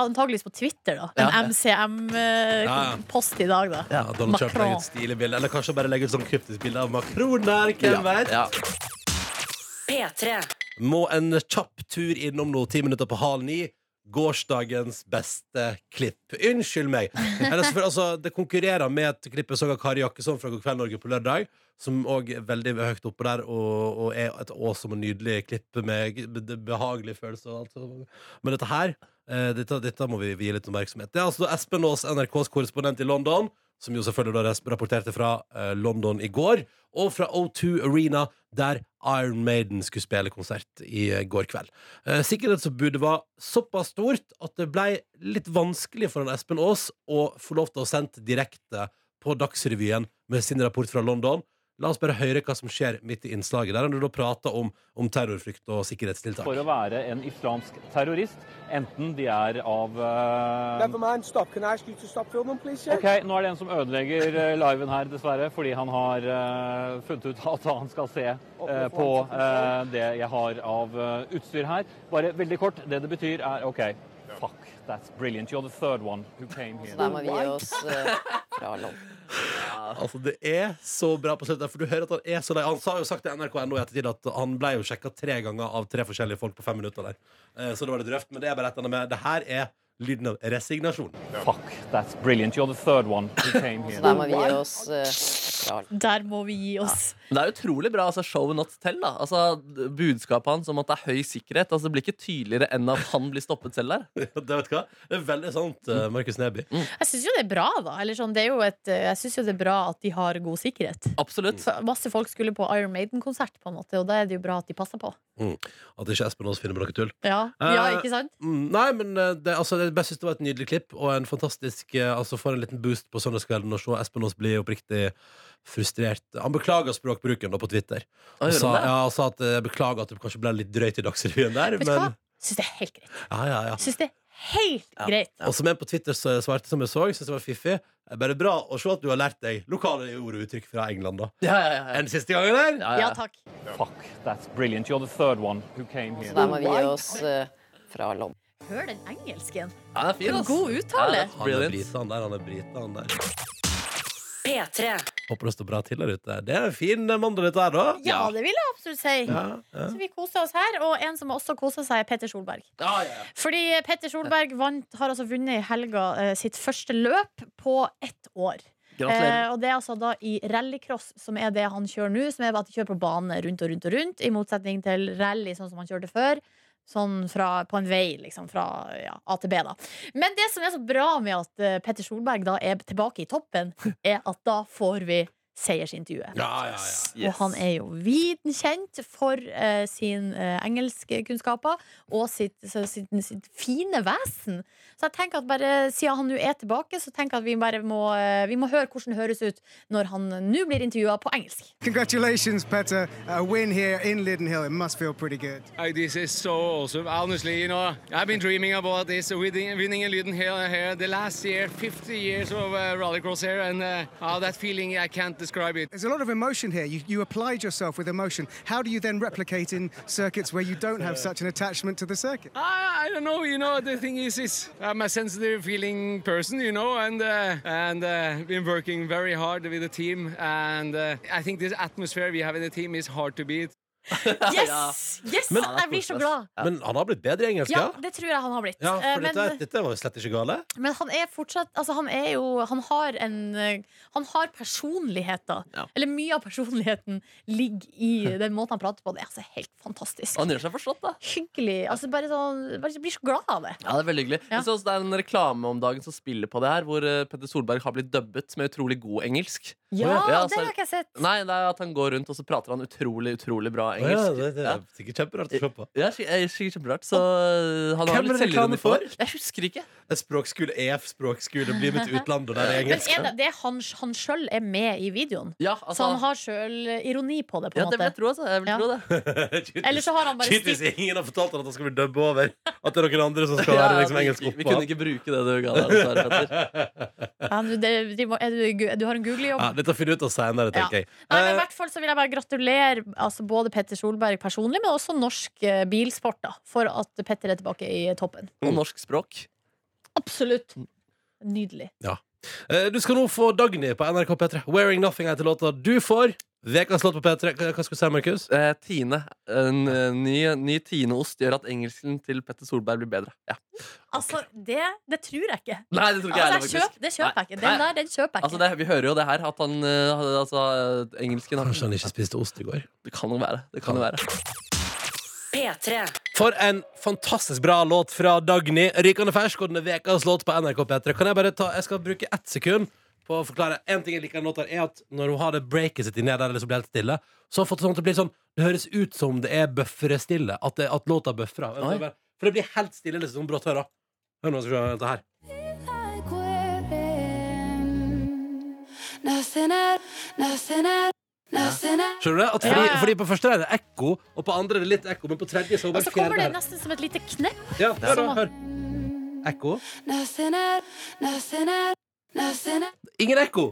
D: Antageligvis på Twitter, da. En
C: Ja.
B: Ja.
D: MCM-post i dag, da.
B: Ja, Donald Trump
D: Macron.
B: legger ut stilige bilder. Eller kanskje bare legger ut sånn kryptisk bilde av Macron der, hvem vet?
C: Ja.
K: P3.
B: Må en kjapp tur innom nå, ti minutter på halv ni. Gårsdagens beste klipp. Unnskyld meg. Eller, selvfølgelig, altså, det konkurrerer med et klipp jeg så av Kari Jakkesson fra God kveld Norge på lørdag, som òg er veldig høyt oppe der, og, og er et awesome og nydelig klipp med g- be- behagelig følelse og alt sånt. Men dette her, eh, dette, dette må vi gi litt oppmerksomhet. Det er altså Espen Aas, NRKs korrespondent i London, som jo selvfølgelig da res- rapporterte fra eh, London i går, og fra O2 Arena, der Iron Maiden skulle spille konsert i eh, går kveld. Eh, Sikkerhetsforbudet var såpass stort at det ble litt vanskelig for han Espen Aas å få lov til å sende direkte på Dagsrevyen med sin rapport fra London. La oss bare høre hva som skjer midt i innslaget, der han da prater om, om terrorfrykt og sikkerhetstiltak.
F: For å være en islamsk terrorist, enten de er av eh, Ok, nå er det en som ødelegger eh, liven her, dessverre, fordi han har eh, funnet ut at han skal se eh, på eh, det jeg har av eh, utstyr her. Bare veldig kort. Det det betyr er OK. Fuck, that's brilliant. You're the third one who came here.
A: Der må vi gi oss eh, fra land.
B: Altså, det er så bra på slutten, for du hører at han er så lei. Han sa jo sagt til NRK.no i ettertid at han ble jo sjekka tre ganger av tre forskjellige folk på fem minutter der. Eh, Så det var litt røft, men det er bare et eller annet med Det her er lyden av resignasjon.
F: Fuck, that's brilliant. You're the third one who came here.
A: Der må vi gi oss eh, fra land.
D: Der må vi gi oss.
C: Men det er utrolig bra. altså Show not tell. da Altså d- Budskapet hans om at det er høy sikkerhet. Altså Det blir ikke tydeligere enn at han blir stoppet selv der.
B: Det vet du hva? Det er veldig sant, eh, Markus Neby.
D: Jeg syns jo det er bra, da. Eller sånn, det er jo et, jeg syns jo det er bra at de har god sikkerhet.
C: Absolutt.
D: For masse folk skulle på Iron Maiden-konsert, på en måte, og da er det jo bra at de passer på.
B: At ikke Espen Aas finner på noe tull.
D: Ja, ja
B: Eh,
D: ikke sant?
B: Mm, nei, men eh, det, altså, jeg bare synes det var et nydelig klipp, og en fantastisk eh, Altså får en liten boost på søndagskvelden og se Espen Aas bli oppriktig frustrert. Han beklager språkbruken da på Twitter.
C: Å,
B: Og
C: gjør
B: sa,
C: han det?
B: ja, og sa at eh, jeg beklager at det kanskje ble litt drøyt i Dagsrevyen der,
D: Vet du hva?
B: men
D: Syns det er helt greit.
B: ja, ja, ja.
D: Syns det er helt greit.
B: Og som en på Twitter s- svarte som jeg så, synes det var fiffig. Det er bare bra å se at du har lært deg lokale ord og uttrykk fra England, da.
C: Ja, ja, ja, ja.
B: En siste gang, eller?
C: Ja,
D: Ja
C: ja.
D: takk.
F: Fuck, that's brilliant. You're the third one who came here.
A: Der må vi gi oss eh, fra land.
D: Hør den engelsken.
C: ja det er fin, ass.
D: God
C: Ja, det
D: uttale.
C: er
B: Han er
C: brilliant.
B: brite, han der. Han er brite, han der.
K: P3.
B: Håper det står bra til der ute. Det er en fin eh, mandag, dette her, da.
D: Ja, det vil jeg absolutt si.
B: Ja, ja.
D: Så vi koser oss her. Og en som også koser seg, er Petter Solberg.
C: Ja, ja, ja.
D: Fordi Petter Solberg vant, har altså vunnet i helga eh, sitt første løp på ett år.
C: Gratulerer.
D: Eh, og det er altså da i rallycross, som er det han kjører nå. Som er at han kjører på bane rundt og rundt og rundt, i motsetning til rally sånn som han kjørte før. Sånn fra, på en vei, liksom, fra ja, A til B, da. Men det som er så bra med at eh, Petter Solberg da er tilbake i toppen, er at da får vi seiersintervjuet.
B: Ja, ja, ja.
C: Yes.
D: Og han er jo viden kjent for eh, sin eh, engelskkunnskaper og sitt, så- sitt, sitt fine vesen. Så jeg tenker at bare siden han nå er tilbake, så tenker jeg at vi bare må, eh, vi må høre hvordan det høres ut når han nå blir intervjua på engelsk.
G: Congratulations, Petter. A win here in Lytton Hill. It must feel pretty good.
F: this is so awesome. Honestly, you know, I've been dreaming about this uh, winning, winning in Lyden here, here the last year, 50 years of uh, rallycross here, and uh, oh, that feeling I can't describe it.
G: There's a lot of emotion here. You, you applied yourself with emotion. How do you then replicate in circuits where you don't have such an attachment to the circuit?
F: I, I don't know, you know, the thing is, is I'm a sensitive feeling person, you know, and uh, and uh, been working very hard with the team, and uh, I think this atmosphere we have in the team is hard to beat.
D: Yes! yes! jeg blir så glad.
B: Men han har blitt bedre i engelsk,
D: Ja,
B: ja?
D: det tror jeg han har blitt.
B: Ja,
D: Eh,
B: for
D: men,
B: dette, dette var jo slett ikke gale.
D: men han er fortsatt altså, Han er jo Han har en eh, Han har personligheter.
C: Ja.
D: Eller mye av personligheten ligger i den måten han prater på. Det er altså helt fantastisk.
C: Han gjør seg forstått, da.
D: hyggelig. Altså bare sånn, bare blir så glad av det.
C: Ja, det er veldig hyggelig
D: Ja.
C: Jeg så også Det er en reklame om dagen som spiller på det her, hvor eh, Petter Solberg har blitt dubbet med utrolig god engelsk.
L: Ja,
C: Å,
L: det har jeg ikke sett.
C: Nei, det er at han går rundt, og så prater han utrolig, utrolig bra
B: Å,
C: engelsk.
B: ja, det, det er sikkert kjemperart å se på.
C: Ja, skik- eh, sikkert kjemperart. Så han
B: Hvem
C: har
B: er
C: litt
B: det reklame
C: selvironi
B: for?
C: for. Jeg husker ikke.
B: Et språkskole EF språkskole blir mitt utland, og der er
D: Men
B: engelsk.
D: er det, det er han, han sjøl er med i videoen?
C: Ja, altså-
D: så han har sjøl ironi på det, på en
C: Ja,
D: måte?
C: det vil jeg tro, altså. Jeg vil
D: Ja.
C: tro det.
B: Tydeligvis-
D: Eller så har han bare
B: Tydeligvis ingen har fortalt han at han skal bli dubba over. At det er noen andre som skal
C: Ja,
B: være liksom,
C: vi-
B: engelsk oppå.
C: Vi kunne ikke bruke det du ga deg. dessverre, Petter.
D: Ja, du, det, de må- er du, gu- du har en googlejobb.
B: Ja, dette finner vi ut av senere, tenker jeg. Eh,
D: Nei, men I
C: Eh.
D: hvert fall så vil jeg bare gratulere altså både Petter Solberg personlig, men også norsk eh, bilsport, da, for at Petter er tilbake i toppen.
B: Mm.
C: Og norsk språk.
D: Absolutt. Nydelig.
B: Ja. Eh, Du skal nå få Dagny på NRK P3. 'Wearing Nothing' heter låta du får. Vekas låt på P3. Hva hva skulle du si, Markus?
C: Eh, Tine. En eh, ny, ny Tineost gjør at engelsken til Petter Solberg blir bedre. Ja.
D: Altså, det, det tror jeg ikke.
C: Nei, det tror ikke jeg
D: altså,
C: heller,
D: jeg
C: faktisk.
D: kjøp, Det kjøper jeg ikke. Den
C: Nei.
D: der, den kjøper jeg ikke.
C: Altså det, vi hører jo det her at han eh, hadde- altså, eh, Engelsken har Kanskje
B: han ikke spiste ost i går?
C: Det kan jo være. Det kan jo være.
A: P3.
B: For en fantastisk bra låt fra Dagny. Rykende fersk, og den er ukas låt på NRK P3. Kan jeg bare ta Jeg skal bruke ett sekund på å forklare. En ting jeg liker med låta, er at når hun har det breaket sitt inni der, eller så blir det helt stille, så har hun fått sånn at det blir sånn Det høres ut som det er bøffrestille. At, det- at låta bøffrer.
H: Oi.
B: For det blir helt stille, liksom. Hun brått hører. Hør nå, så skal vi høre dette her. Skjønner du det? At fordi, fordi på første er det ekko, og på andre er det litt ekko, men på tredje så er hun
D: Og
B: bare
D: så kommer det
B: fjerde her.
D: nesten som et lite knepp.
B: Ja, hør,
D: som
B: da,
D: at-
B: hør. Ekko. Ingen ekko!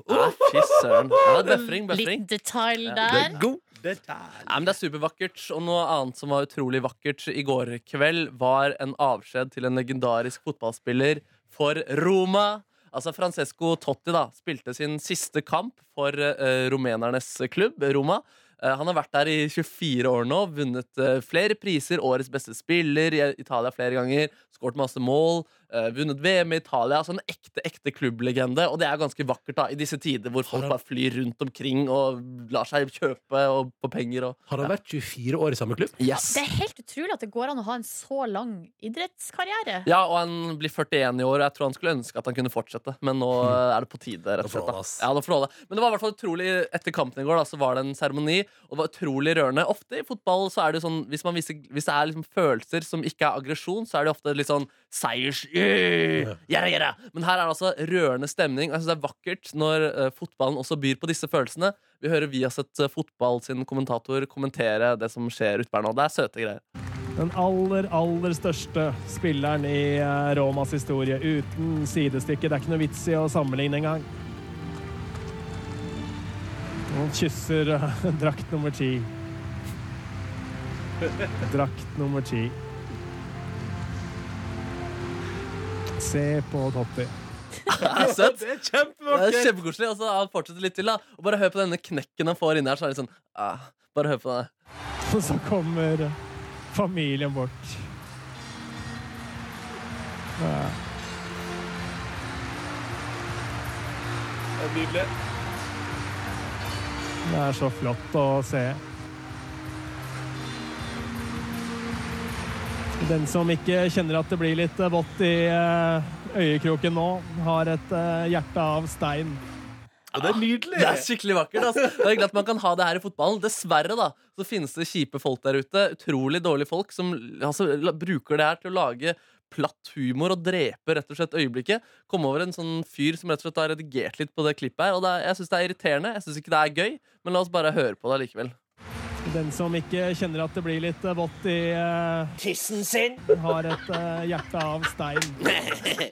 C: Fy søren. Ja, det er bøffring, bøffring.
D: Litt detalj
C: Ja.
D: der.
C: Ja, men det er supervakkert. Og noe annet som var utrolig vakkert i går kveld, var en avskjed til en legendarisk fotballspiller for Roma. Altså Francesco Totti da, spilte sin siste kamp for eh, rumenernes klubb, Roma. Eh, han har vært der i 24 år nå, vunnet eh, flere priser, årets beste spiller i Italia flere ganger, skåret masse mål, eh, vunnet VM i Italia. Altså en ekte, ekte klubblegende, og det er ganske vakkert da, i disse tider hvor folk bare flyr rundt omkring og lar seg kjøpe og, på penger og
B: Har han vært 24 år i samme klubb?
C: Yes.
D: Det er helt utrolig at det går an å ha en så lang idrettskarriere.
C: Ja, og han blir 41 i år, og jeg tror han skulle ønske at han kunne fortsette. Men nå eh, er det på tide, rett og slett. Da. Ja, nå får det holde. Men det var i hvert fall utrolig etter kampen i går, da, så var det en seremoni, og det var utrolig rørende. Ofte i fotball så er det jo sånn, hvis, man viser, hvis det er liksom følelser som ikke er aggresjon, så er det ofte litt sånn seiers... Yeah, yeah. Men her er det altså rørende stemning, og jeg synes det er vakkert når eh, fotballen også byr på disse følelsene. Vi hører Viaset eh, Fotball sin kommentator kommentere det som skjer ute her nå. Det er søte greier.
M: Den aller, aller største spilleren i eh, Romas historie. Uten sidestykke. Det er ikke noe vits i å sammenligne engang. Han kysser eh, drakt nummer ti. Drakt nummer ti. Se på Totti.
C: Det er søtt.
B: Det er
C: Det er kjempekoselig. Altså, han fortsetter litt til, da. Og bare hør på denne knekken han får inni her. Så er det sånn ah, Bare hør på det.
M: Og så kommer familien bort. Ja.
H: Nydelig.
M: Det er så flott å se. Den som ikke kjenner at det blir litt eh, vått i eh, øyekroken nå, har et eh, hjerte av stein.
C: det er nydelig! Det er skikkelig vakkert. Altså. Det er hyggelig at man kan ha det her i fotballen. Dessverre da, så finnes det kjipe folk der ute. Utrolig dårlige folk som altså, la- bruker det her til å lage platt humor og drepe rett og slett øyeblikket. Kom over en sånn fyr som rett og slett har redigert litt på det klippet her. Og det er, jeg syns det er irriterende. Jeg syns ikke det er gøy, men la oss bare høre på det likevel.
M: Den som ikke kjenner at det blir litt eh, vått i eh,
N: Tissen sin
M: har et eh, hjerte av stein.
C: Det er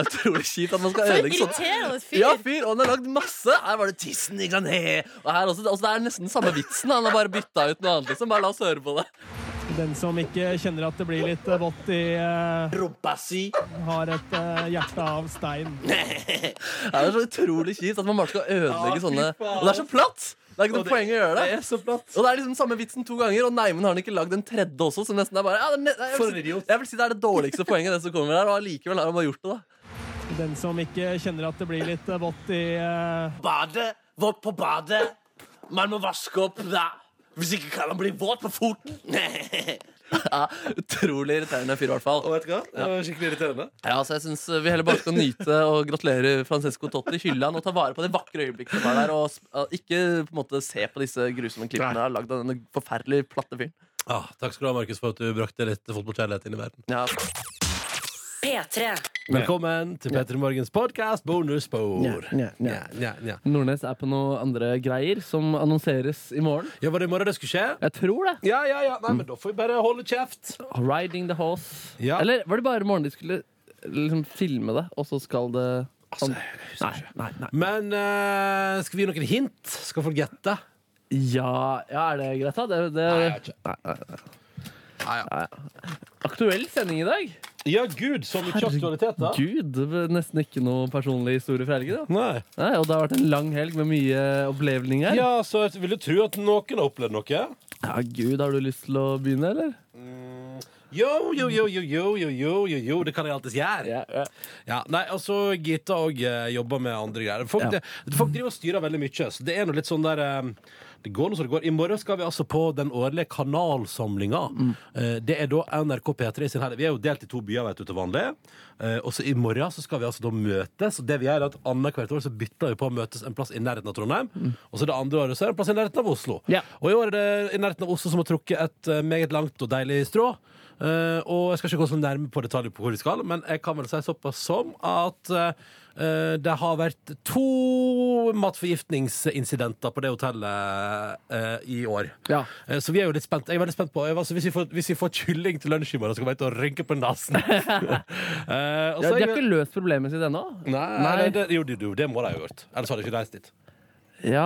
C: Utrolig kjipt at man
M: For
C: skal
M: en
C: ødelegge sånn.
M: irriterende fyr.
C: Ja, fyr, og han har lagd masse. Her var det tissen. Ikke sant? He. Og her også, altså, det er nesten samme vitsen. Han har bare bytta ut noe annet. Liksom. Bare la oss høre på det.
M: Den som ikke kjenner at det blir litt eh, vått i eh,
N: Rumpa si
M: har et eh, hjerte av stein.
C: Det er så utrolig kjipt at man bare skal ødelegge
M: Ja, fy
C: sånne
M: faen.
C: Og det er så platt! Det er ikke
M: Og
C: noe
M: det-
C: poeng å gjøre det.
M: det er
C: Og det er liksom samme vitsen to ganger, og Neimen har den ikke lagd en tredje også. Som nesten er bare ja, det er ne- jeg,
M: For en
C: vil si, jeg vil si det er det dårligste poenget, det som kommer her. Og allikevel har han bare gjort det, da.
M: Den som ikke kjenner at det blir litt eh, vått i eh,
N: Badet, vått på badet Man må vaske opp da Hvis ikke kan han bli våt på foten
C: Ja, Utrolig irriterende fyr, i hvert fall.
B: Det var skikkelig irriterende.
C: Ja, altså jeg synes Vi heller bare skal nyte og gratulere Francesco Totti Hylland og ta vare på det vakre øyeblikket som var der. Og s- uh, ikke på en måte se på disse grusomme klippene jeg har lagd av denne forferdelig platte fyren.
B: Ah, takk skal du ha, Markus, for at du brakte litt fotballkjærlighet inn i verden.
A: P3.
B: Velkommen til Petter Morgens podkast bonusspor.
C: Nordnes er på noe andre greier som annonseres i morgen.
B: Ja, Var det i morgen det skulle skje? Mm.
C: Jeg tror det.
B: Ja, ja, ja. Nei, men da får vi bare holde kjeft.
C: Riding the horse. Eller var det bare i morgen de skulle liksom filme det, og så skal det Nei, nei, nei.
B: Men eh, skal vi gi noen hint? Skal folk gjette?
C: Ja, ja er det greit, da? Det, det, nei, nei, nei. Nei, ja. Aktuell sending i dag.
B: Ja, gud, så mye aktualitet, da.
C: Gud, det var nesten ikke noe personlig historie fra helgen. Da.
B: Nei.
C: og det har vært en lang helg med mye opplevninger.
B: Ja, så jeg vil du tro at noen har opplevd noe?
C: Ja, Gud, har du lyst til å begynne, eller?
B: Yo, yo, yo, yo, yo, yo, yo, yo, yo. Det kan jeg alltids gjøre.
C: Ja,
B: nei, altså, Gita òg jobber med andre greier. Folk,
C: Ja.
B: det, folk driver og styrer veldig mye, så det er nå litt sånn der eh, Det går nå som det går. I morgen skal vi altså på den årlige kanalsamlinga. Eh, det er da NRK P3 sin her. Vi er jo delt i to byer, vet du, til vanlig. Eh, og så i morgen så skal vi altså da møtes. Og det vi gjør, er at annethvert år så bytter vi på å møtes en plass i nærheten av Trondheim. Og så det andre året så er det en plass i nærheten av Oslo. Og i år er det i nærheten av Oslo som har trukket et eh, meget langt og deilig strå. Eh, og jeg skal ikke gå så nærme på detaljer på hvor vi skal, men jeg kan vel si såpass som at eh, det har vært to matforgiftningsincidenter på det hotellet eh, i år. Eh, så vi er jo litt spent. Jeg er veldig spent på jeg, var- altså, hvis, vi får, hvis vi får kylling til lunsj i morgen, så kommer jeg til å rynke på nesen. Eh, og så
C: Ja, de
B: er
C: har
B: jeg-
C: ikke løst problemet sitt ennå?
B: Nei, nei. Det, jo, det- jo, det må de ha gjort. Ellers hadde jeg ikke reist dit.
C: Ja,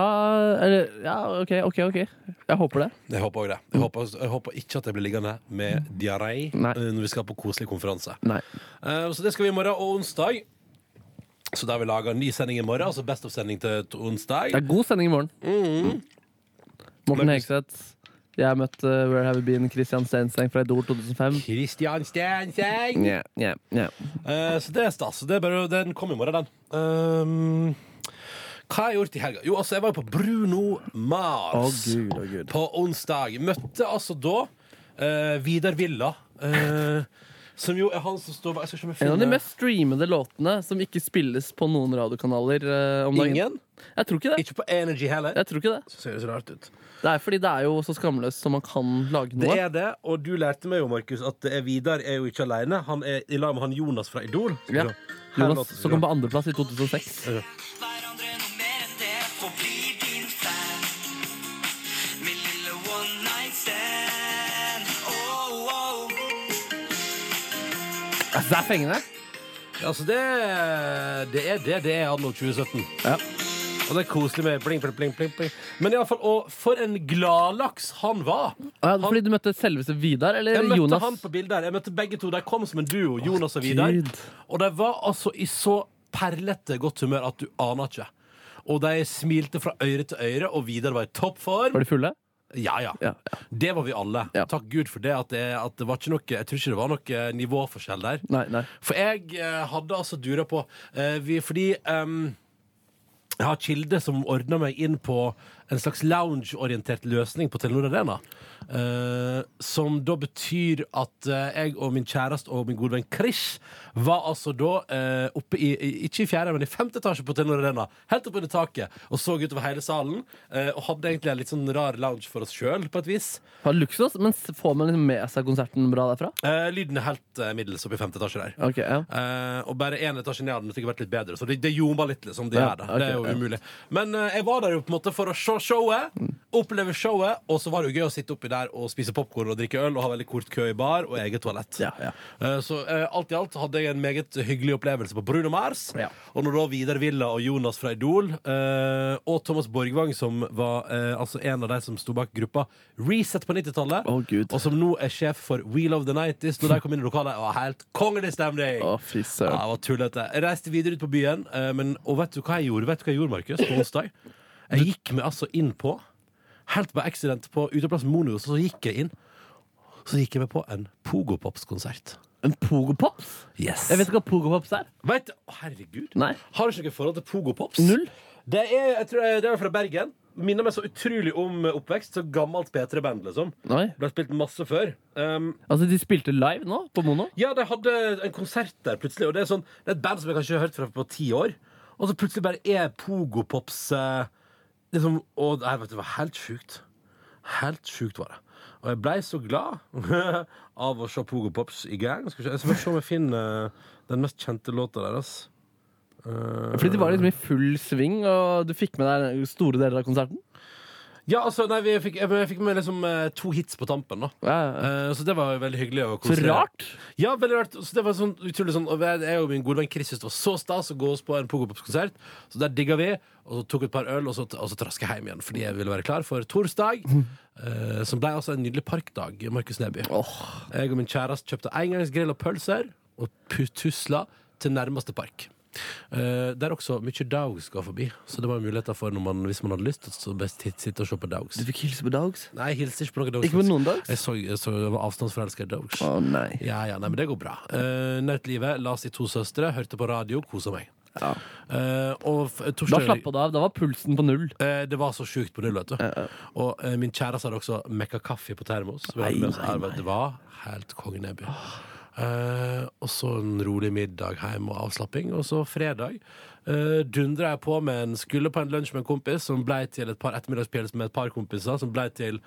C: eller, ja, OK, OK. ok Jeg håper det.
B: Jeg håper også det. Jeg
C: Mm.
B: håper, jeg håper ikke at jeg blir liggende med diaré eh, når vi skal på koselig konferanse. Eh, så det skal vi i morgen og onsdag. Så da har vi laga ny sending i morgen. Altså Best of-sending til t- onsdag.
C: Det er god sending i morgen.
B: Mm.
C: Morten Hegseth. Jeg har møtt eh, Where Have You Been? Christian Stenseng fra Idol 2005.
B: Christian Stenseng!
C: Ja, ja, ja.
B: Eh, så det er stas. Det er bare, den kom i morgen, den. Ehm, hva har jeg gjort i helga? Jo, altså, jeg var jo på Bruno Mars
C: Å, Gud, å, Gud.
B: på onsdag. Møtte altså da eh, Vidar Villa. eh, som jo er han som står bak jeg skal se om jeg
C: En av de
B: finner-
C: mest streamede låtene som ikke spilles på noen radiokanaler eh, om dagen.
B: Ingen?
C: Jeg tror ikke det.
B: Ikke på Energy heller.
C: Jeg tror ikke det.
B: Ser det så rart ut.
C: Det er fordi det er jo så skamløst som man kan lage
B: Det
C: noe.
B: er det, og du lærte meg jo, Markus, at det er Vidar er jo ikke alene. Han er i lag med han Jonas fra Idol.
C: Ja.
B: Her
C: Jonas,
B: låter det
C: som
B: bra.
C: kom på andreplass i 2006.
G: Min lille one night stand. Oh, oh.
C: Altså, det er fengende.
B: Altså, det, det er det det er anno 2017. Og det er koselig med bling, bling, bling, bling, bling. Men i alle fall, og for en gladlaks han var!
C: Ja, fordi du møtte selveste Vidar, eller
B: Jeg møtte
C: Jonas?
B: han på bildet her. Jeg møtte begge to. De kom som en duo, Jonas og Vidar.
C: Gud.
B: Og de var altså i så perlete godt humør at du aner ikke. Og de smilte fra øre til øre, og Vidar var i toppform.
C: Var de fulle?
B: Ja, ja. Det var vi alle. Takk Gud for det. At det, at det var ikke noe, jeg tror ikke det var noe nivåforskjell der.
C: Nei, nei.
B: For jeg eh, hadde altså dura på eh, vi, Fordi ehm, jeg har kilde som ordna meg inn på en slags lounge-orientert løsning på Telenor Arena. Eh, som da betyr at eh, jeg og min kjæreste og min gode venn Krish var altså da eh, oppe i, i ikke i fjerde, men i femte etasje på Telenor Arena. Helt opp under taket og så utover hele salen. eh, og hadde egentlig en litt sånn rar lounge for oss sjøl, på et vis.
C: Var det luksus, men s- får man liksom med seg konserten bra derfra?
B: Eh, lyden er helt eh, middels oppe i femte etasje der.
C: Ok, ja.
B: Eh, og bare én etasje ned hadde det sikkert vært litt bedre. Så det, det ljomer litt, liksom. Det,
C: Ja,
B: gjør det.
C: ok,
B: det er jo
C: ja.
B: umulig. Men eh, jeg var der jo på en måte for å se showet,
C: Mm.
B: oppleve showet, og så var det jo gøy å sitte oppi der og spise popkorn og drikke øl og ha veldig kort kø i bar og eget toalett. Eh, så eh, alt i alt hadde jeg en meget hyggelig opplevelse på Bruno Mars. Og når da Vidar Villa og Jonas fra Idol eh, og Thomas Borgvang, som var eh, altså en av de som sto bak gruppa Reset på 90-tallet, og som nå er sjef for We Love The 90s, når de kom inn i lokalet, det var helt kongelig stemning!
C: Å, fy søren.
B: Ja, det var tullete. Jeg reiste videre ut på byen, eh, men, og vet du hva jeg gjorde, Vet du hva jeg gjorde, Markus, på onsdag? Jeg gikk meg altså inn på, helt på accident, på uteplass Mono, så gikk jeg inn. Så gikk jeg meg på en Pogopops-konsert.
C: En Pogopops?
B: Yes.
C: Jeg vet ikke hva Pogopops er.
B: Vet, å, herregud.
C: Nei.
B: Har du ikke noe forhold til Pogo Pops?
C: Null.
B: Det er, jeg tror jeg, det er fra Bergen. minner meg så utrolig om oppvekst. Så gammelt P3-band, liksom.
C: Oi.
B: Ble spilt masse før. Um,
C: Altså, de spilte live nå, på Mono?
B: ja, de hadde en konsert der plutselig, og det er, sånn, det er et band som jeg kanskje har hørt fra på ti år. Og så plutselig bare er pogopops eh, liksom, Og det, her, vet du, det var helt sjukt. Helt sjukt var det. Og jeg blei så glad av å se pogopops i gang. Skal vi se- jeg skal bare se om jeg finner eh, den mest kjente låta deres. Eh,
C: Fordi de var liksom i full sving, og du fikk med deg store deler av konserten?
B: Ja, altså, nei, vi fikk, jeg, jeg fikk med liksom eh, to hits på tampen, da. Eh, så det var veldig hyggelig. å
C: Så
B: konsere.
C: rart!
B: Ja, veldig rart. Så det var sånn utrolig sånn og Jeg jeg og min gode venn Chris syntes det var så stas å gå oss på en Pogopops-konsert. Så der digga vi, og så tok et par øl, og så, og så traska jeg hjem igjen fordi jeg ville være klar for torsdag.
C: Mhm.
B: eh, som ble altså en nydelig parkdag i Markus Neby. Jeg og min kjæreste kjøpte engangsgrill og pølser og pu- tusla til nærmeste park. Eh, der også mye dogs går forbi, så det var muligheter for når man, hvis man hadde lyst, så best hit- sitte og se på dogs.
C: Du fikk hilse på Dogs?
B: Nei, jeg hilser ikke på noen dogs.
C: Ikke på noen dogs?
B: Jeg, så, jeg, så, jeg var avstandsforelska i dogs.
C: Å, nei.
B: Ja, ja, nei, men det går bra. Uh, Nøt livet, las i to søstre, hørte på radio, kosa meg. Eh, og f-
C: Da
B: torsdag
C: slappa du av. Da var pulsen på null.
B: Eh, det var så sjukt på null, vet du. Og eh, min kjæreste hadde også mekka kaffe på termos. Vi hadde
C: Nei,
B: med oss
C: nei,
B: her, vet du. Det var helt kongenebby. Eh, og så en rolig middag hjemme og avslapping. Og så fredag uh, dundra jeg på med en skulle på en lunsj med en kompis, som blei til et par ettermiddagspils med et par kompiser, som blei til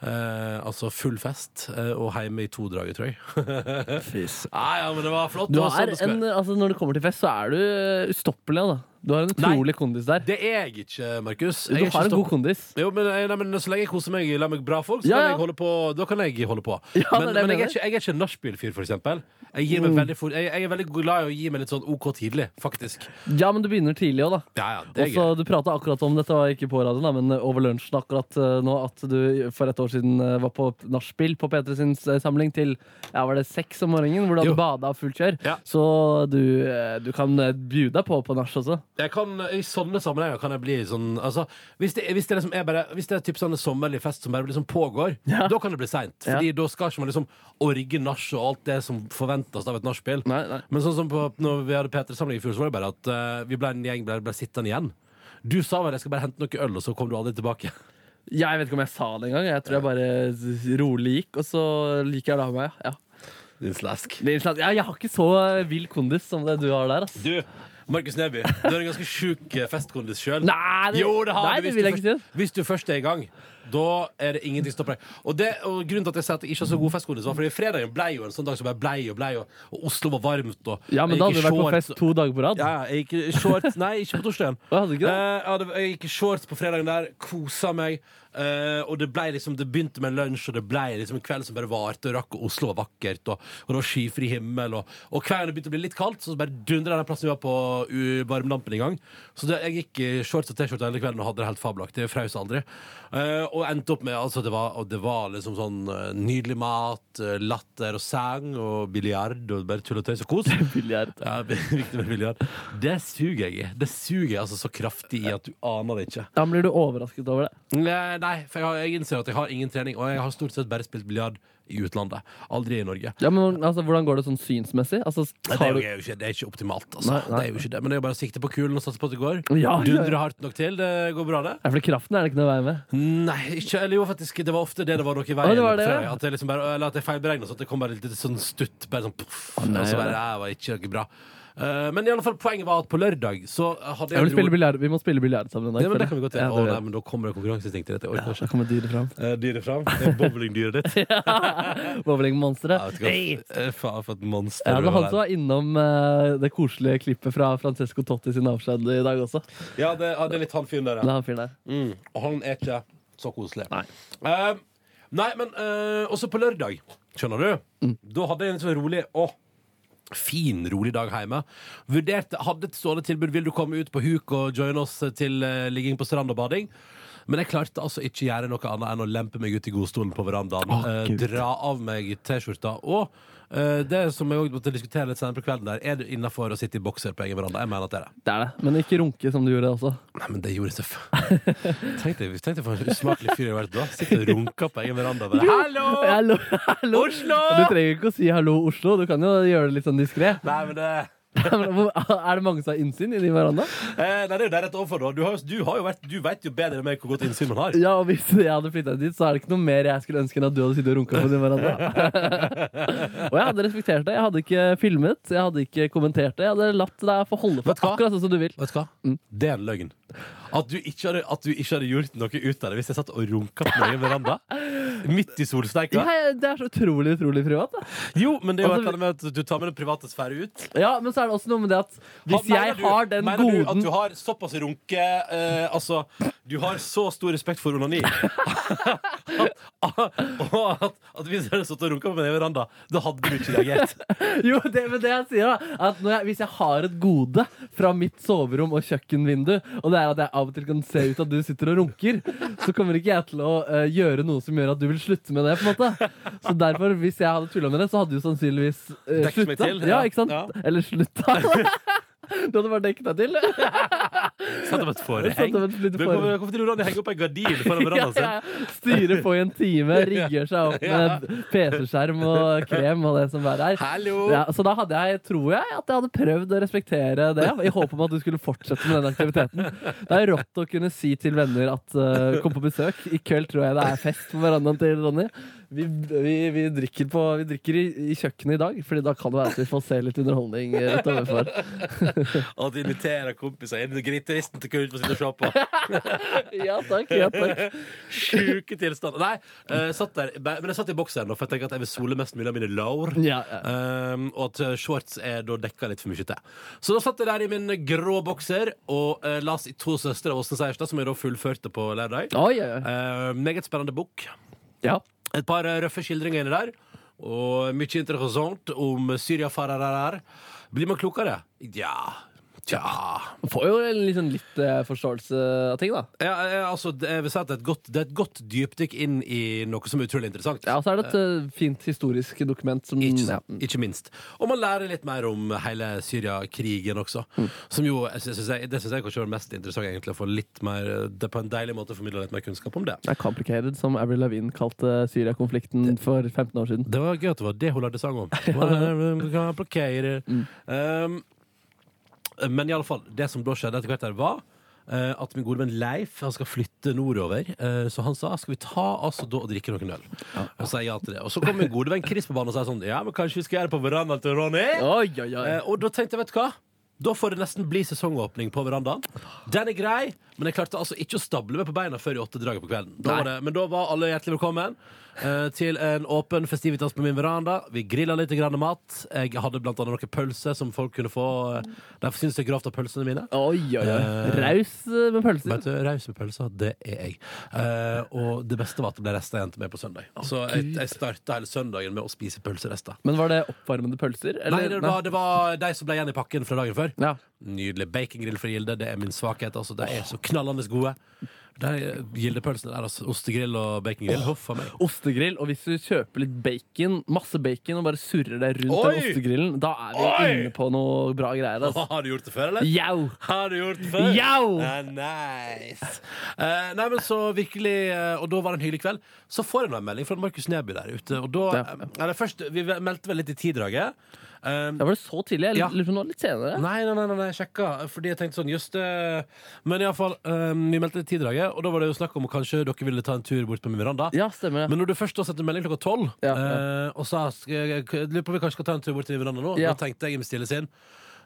B: eh, altså full fest eh, og hjemme i to drager, tror jeg. Nei, ja, men det var flott.
C: Du
B: det var sånn
C: er
B: det skulle
C: en,
B: være.
C: altså når det kommer til fest, så er du eh, ustoppelig. Da. Du har en utrolig kondis der.
B: Det er jeg ikke, Markus.
C: Du
B: Jeg er ikke
C: har en
B: stopp-
C: god kondis.
B: Jo, men, eh, nei, men Så lenge jeg koser meg la meg bra folk, så
C: Ja,
B: kan
C: ja.
B: jeg holde på, da kan jeg holde på.
C: Ja, det er
B: men
C: det
B: men
C: jeg
B: jeg,
C: mener.
B: er ikke, jeg er ikke en nachspiel-fyr, for eksempel. Jeg, gir meg
C: Mm.
B: veldig fort, jeg, jeg er veldig glad i å gi meg litt sånn OK tidlig, faktisk.
C: Ja, men du begynner tidlig òg, da.
B: Ja, ja, det er
C: Også, du prata akkurat om dette var ikke på radioen, da, men over lunsjen akkurat eh, nå at du for et år siden eh, var på nachspiel på P3 sin eh, samling til ja, var det seks om morgenen, hvor du
B: Jo.
C: hadde bada og fullt kjør. Så du, eh, du kan eh, bjude deg på på nach også.
B: Jeg kan, I sånne sammenhenger kan jeg bli sånn altså, Hvis det, hvis det liksom er bare Hvis det er typ sånn en sommerlig fest som bare liksom pågår, da kan det bli seint. Fordi da skal ikke man liksom orge nach og alt det som forventes av et nachspiel. Men sånn som på, når vi hadde P3-samling i fjor, så var det bare at eh, vi ble en gjeng ble, ble sittende igjen. Du sa vel jeg skal bare hente noe øl, og så kom du aldri tilbake.
C: Jeg vet ikke om jeg sa det engang. Jeg tror jeg bare rolig gikk, og så liker jeg det av meg. Ja.
B: Din slask.
C: Ja, jeg har ikke så eh, vill kondis som det du har der. Ass.
B: Du, Markus Neby, du er en ganske sjuk eh, festkondis sjøl.
C: Nei, det- nei, det vil jeg ikke
B: Hvis du først er i gang, da er det ingenting som stopper deg. Og, det, og grunnen til at jeg sier at jeg ikke har så god festkondis, var fordi fredagen blei jo en sånn dag som bare blei og blei, og, og Oslo var varmt, og
C: Ja, men
B: jeg
C: da
B: gikk i
C: hadde du vært på
B: shorts,
C: fest to dager på rad.
B: Ja, jeg gikk i shorts Nei, ikke på torsdagen. Eh,
C: hadde du ikke det?
B: jeg gikk i shorts på fredagen der, kosa meg. eh, og det, ble liksom, det begynte med lunsj, og det ble liksom en kveld som bare varte og rakk. Og Oslo var vakkert, og, og det var skyfri himmel. Og, og kvelden begynte å bli litt kaldt, så bare dundra den plassen vi var på u- varmelampen i gang. Så det, jeg gikk i shorts og T-skjorte hele kvelden og hadde det helt fabelaktig. Jeg Frøs aldri. Eh, og endte opp med altså, det, var, og det var liksom sånn eh, nydelig mat, eh, latter og sang og biljard og bare tull og tøys og kos.
C: biljard.
B: Ja, viktig med biljard. Det suger jeg i. Det suger jeg altså så kraftig i at du aner det ikke.
C: Da blir du overrasket over det.
B: Nei, nei, for jeg, har, jeg innser at jeg har ingen trening, og jeg har stort sett bare spilt biljard i utlandet. Aldri i Norge.
C: Ja, men altså, Hvordan går det sånn synsmessig? Altså,
B: Nei, Det
C: tar
B: er, jo,
C: du...
B: det er jo ikke, det er ikke optimalt, altså.
C: Nei, nei.
B: Det er jo ikke det. Men det er jo bare å sikte på kulen og satse på at det går.
C: Ja, ja, ja.
B: Dundre hardt nok til. Det går bra, det.
C: Ja, for kraften er det ikke noe vei med.
B: Nei, ikke, eller jo faktisk, det var ofte det det var noe i
C: Å,
B: veien.
C: det var det,
B: på fredag,
C: ja.
B: at jeg liksom bare, eller at jeg feilberegna, så at det kom bare litt sånn stutt. Bare sånn poff. og
C: nei,
B: så bare,
C: ja.
B: det var ikke noe bra. Eh, men i alle fall, poenget var at på lørdag så hadde
C: Jeg
B: jeg
C: vil spille biljard. Vi må spille biljard sammen en dag.
B: Ja, men det
C: føler jeg.
B: kan vi godt gjøre.
C: Ja,
B: Å,
C: det
B: nei, men da kommer det konkurranseinstinktet ditt. Jeg orker
C: Da kommer dyret fram.
B: ikke. Eh, Dyret fram. Det er Bowlingdyret ditt.
C: Bowlingmonsteret.
B: Hey! Eh, Faen, for et monster.
C: Ja, det
B: du
C: var han
B: er.
C: som var innom eh, det koselige klippet fra Francesco Totti sin avskjed i dag også.
B: Ja, det, ja, det er litt han fyren der,
C: Det er han fyren der.
B: Mm. Og han er ikke så koselig. Nei, nei men eh, også på lørdag, skjønner du, da hadde jeg en sånn rolig Å, fin, rolig dag hjemme. Vurderte, hadde et stående tilbud Vil du komme ut på huk og joine oss til eh, ligging på strand og bading. Men jeg klarte altså ikke gjøre noe annet enn å lempe meg ut i godstolen på verandaen. eh,
O: Gud.
B: dra av meg T-skjorta. Og eh, det som jeg også måtte diskutere litt senere på kvelden, der er det innafor å sitte i bokser på egen veranda. Jeg mener at det er det.
C: Det er det. Men ikke runke som du gjorde også.
B: Nei, men det gjorde jeg selvfølgelig. Tenk deg, tenk deg for en usmakelig fyr jeg har vært da. Sitter og runker på egen veranda. og Bare, Hallo!
C: Hallo! Hallo!
B: Oslo!
C: Du trenger ikke å si 'hallo, Oslo'. Du kan jo gjøre det litt sånn diskré.
B: Nei, men det
C: er det mange som har innsyn i de hverandre?
B: Eh, nei, det er jo der rett overfor. da. Du, har, jo- du, har jo vært, du vet jo bedre enn meg hvor godt innsyn man har.
C: Ja, og hvis jeg hadde flytta dit, så er det ikke noe mer jeg skulle ønske enn at du hadde sittet og runka på din veranda. og jeg hadde respektert det. Jeg hadde ikke filmet, jeg hadde ikke kommentert det. Jeg hadde latt deg få holde på akkurat sånn som du vil.
B: Vet du hva? Det er en løgn. At du ikke hadde, at du ikke hadde gjort noe ut av det hvis jeg satt og runka på min egen veranda. Midt i solsteika.
C: Ja, det er så utrolig, utrolig privat. Da.
B: Jo, men det er jo
C: Altså,
B: et eller annet med at du tar med den private sfære ut.
C: Ja, men så er det også noe med det at hvis
B: Ha- mener
C: jeg
B: du-
C: har den
B: mener du
C: goden
B: at du har såpass runke eh, Altså, du har så stor respekt for onani at, og at, at hvis jeg hadde stått og runka på min egen veranda, da hadde du ikke reagert.
C: Jo, det, men det jeg sier da At når jeg, Hvis jeg har et gode fra mitt soverom og kjøkkenvindu, og det er at jeg av og til kan se ut at du sitter og runker, så kommer ikke jeg til å eh, gjøre noe som gjør at du vil slutte med det. på en måte Så derfor, hvis jeg hadde tulla med det, så hadde du sannsynligvis uh,
B: Dekket meg
C: slutta.
B: til,
C: Ja,
B: ja.
C: ikke sant?
B: Ja.
C: Eller slutta. Du hadde bare dekket deg til.
B: Satt opp et
C: Satt
B: forheng.
C: opp et lite
B: Du,
C: forheng.
B: Hvorfor hvorfor tror du Ronny henger opp ei gardin foran verandaen sin?
C: Ja, ja. Styrer på i en time, rigger seg opp med PC-skjerm og krem og det som bare er. Ja, så da hadde jeg, tror jeg, at jeg hadde prøvd å respektere det, i håp om at du skulle fortsette med den aktiviteten. Det er rått å kunne si til venner at eh, kom på besøk. I kveld tror jeg det er fest på verandaen til Ronny. Vi, vi, vi drikker, på, vi drikker i, i kjøkkenet i dag, Fordi da kan det være at vi får se litt underholdning eh, rett overfor.
B: Og at de inviterer kompiser inn. Gryteristen til Kurt får sitte og se på.
C: ja takk. Ja, takk.
B: Sjuke tilstander. Nei, eh, satt der, men jeg satt i bokseren, for jeg tenker at jeg vil sole mest mulig av mine lår.
C: Ja,
B: Um, og at eh, shorts er da dekka litt for mye til. Så da satt jeg der i min grå bokser og eh, las i To søstre av Åsne Seierstad, som jeg da fullførte på lørdag. Eh, meget spennende bok. Et par eh, røffe skildringer inni der. Og mye interessant om syriafarere. Blir man klokere? Ja. Tja.
C: Får jo liksom litt eh, forståelse av ting, da.
B: Ja, eh, altså, det, jeg vil si at det er, et godt, det er et godt dypdykk inn i noe som er utrolig interessant.
C: Ja, og så er det et eh, fint historisk dokument som
B: Ikke,
C: Mm, ja.
B: sant? ikke minst. Og man lærer litt mer om hele Syria-krigen også. Som jo, jeg synes, jeg synes- Det syns jeg kanskje var mest interessant, egentlig, å få litt mer eh, det på en deilig måte formidla litt mer kunnskap om det.
C: Det er complicated, som Avril Lavigne kalte Syria-konflikten for 15 år siden.
B: Det var gøy at det var det hun lagde sang om. Complicated. Um, Ehm, men iallfall, det som da skjedde etter hvert der, var eh, at min gode venn Leif han skal flytte nordover. Eh, så han sa skal vi ta altså da og drikke noen øl. Og så sa jeg ja til det. Og så kom min gode venn Chris på banen og sa sånn ja, men kanskje vi skal gjøre det på verandaen til Ronny? Eh, og da tenkte jeg, vet du hva? Da får det nesten bli sesongåpning på verandaen. Den er grei, men jeg klarte altså ikke å stable meg på beina før i åttedraget på kvelden. Da
C: Nei.
B: var det, men da var alle hjertelig velkommen eh, til en åpen festivitas på min veranda. Vi grilla litt grann mat. Jeg hadde blant annet noen pølser som folk kunne få. eh, Derfor syns jeg grovt av pølsene mine.
C: Oi, oi, oi.
B: Eh,
C: Raus eh, med pølser.
B: Vet du, Raus med pølser, det er jeg. Eh, og det beste var at det ble rester igjen til meg på søndag. Så jeg, jeg starta hele søndagen med å spise pølserester.
C: Men var det oppvarmede pølser?
B: Nei,
C: eller?
B: det var, det var de som ble igjen i pakken fra dagen før.
C: Ja.
B: Nydelig. Bacongrill fra Gilde, det er min svakhet. Altså, de er så knallende gode. De eh, Gildepølsene der, altså. Ostegrill og bacongrill.
C: Åh.
B: Huff a meg.
C: Ostegrill, og hvis du kjøper litt bacon, masse bacon, og bare surrer det rundt
B: Oi!
C: den ostegrillen, da er vi
B: Oi!
C: inne på noe bra greier. Altså.
B: Har du gjort det før, eller?
C: Jau!
B: Har du gjort det før?
C: Jau!
B: Eh, nice. Eh, nei, men så virkelig eh, Og da var det en hyggelig kveld. Så får jeg nå en melding fra Markus Neby der ute. Og da
C: Ja.
B: eh, Eller først, vi meldte vel litt i tidraget. Um,
C: var det så tidlig? Jeg lurer på om det var litt senere.
B: Nei, nei, nei, nei, nei, jeg sjekka. Fordi jeg tenkte sånn, just det Men iallfall, um, vi meldte litt tiddraget, og da var det jo snakk om at kanskje dere ville ta en tur bort på min veranda.
C: Ja, stemmer det.
B: Men når du først da sendte melding klokka tolv eh, og sa "Sk- jeg jeg lurer på om vi kanskje skal ta en tur bort til min veranda nå,
C: Ja.
B: da tenkte jeg i mitt stille sinn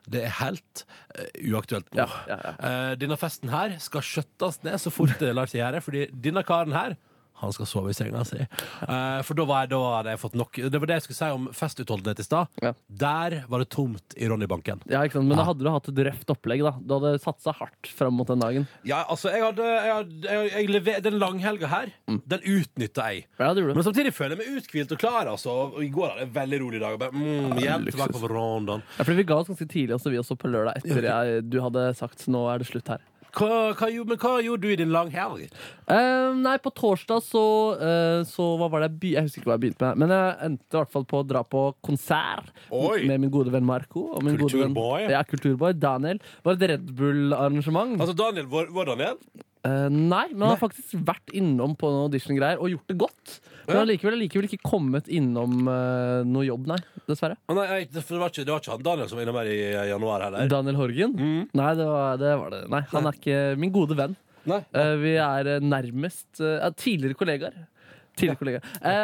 B: det er helt eh, uaktuelt nå. Eh, denne festen her skal skjøttes ned så fort det lar seg gjøre, fordi denne karen her han skal sove i senga si. Eh, for da, var jeg, da hadde jeg fått nok. Det var det jeg skulle si om festutholdenhet i stad. Der var det tomt i Ronny-banken.
C: Ja, ikke sant? Men da hadde du hatt et røft opplegg. da Du hadde satsa hardt fram mot den dagen.
B: Ja, altså, jeg hadde, jeg hadde jeg, jeg lever, Den langhelga her,
C: Mm.
B: den utnytta jeg. Men samtidig føler jeg meg uthvilt og klar. Altså. Og I går hadde jeg en veldig rolig dag. Og bare, mm,
C: Ja,
B: hjem
C: luksus.
B: tilbake på verandaen.
C: Ja, fordi Vi ga oss ganske tidlig også, vi også på lørdag, etter jeg, du hadde sagt nå er det slutt her.
B: hva, hva, gjorde- men hva gjorde du i din langhelg?
C: Eh, nei, på torsdag så, eh, så Hva var det jeg begynte Jeg husker ikke hva jeg begynte med, men jeg endte i hvert fall på å dra på konsert
B: Oi.
C: med min gode venn Marco. Og min gode venn,
B: Kulturboy.
C: ja, kulturboy Daniel. Det var et Red Bull-arrangement.
B: Altså Daniel, vår, vår Daniel?
C: Eh, nei, men han har faktisk vært innom på noen audition-greier og gjort det godt. Men han har likevel, likevel ikke kommet innom eh, noe jobb, nei. Dessverre.
B: Å, nei, jeg- for det, var ikke, det var ikke han Daniel som var innom her i eh, januar heller.
C: Daniel Horgen? Nei, det var det. Var det. Nei, han er ikke min gode venn. Eh, vi er eh, nærmest eh, ja, tidligere kollegaer. Tidligere kollegaer.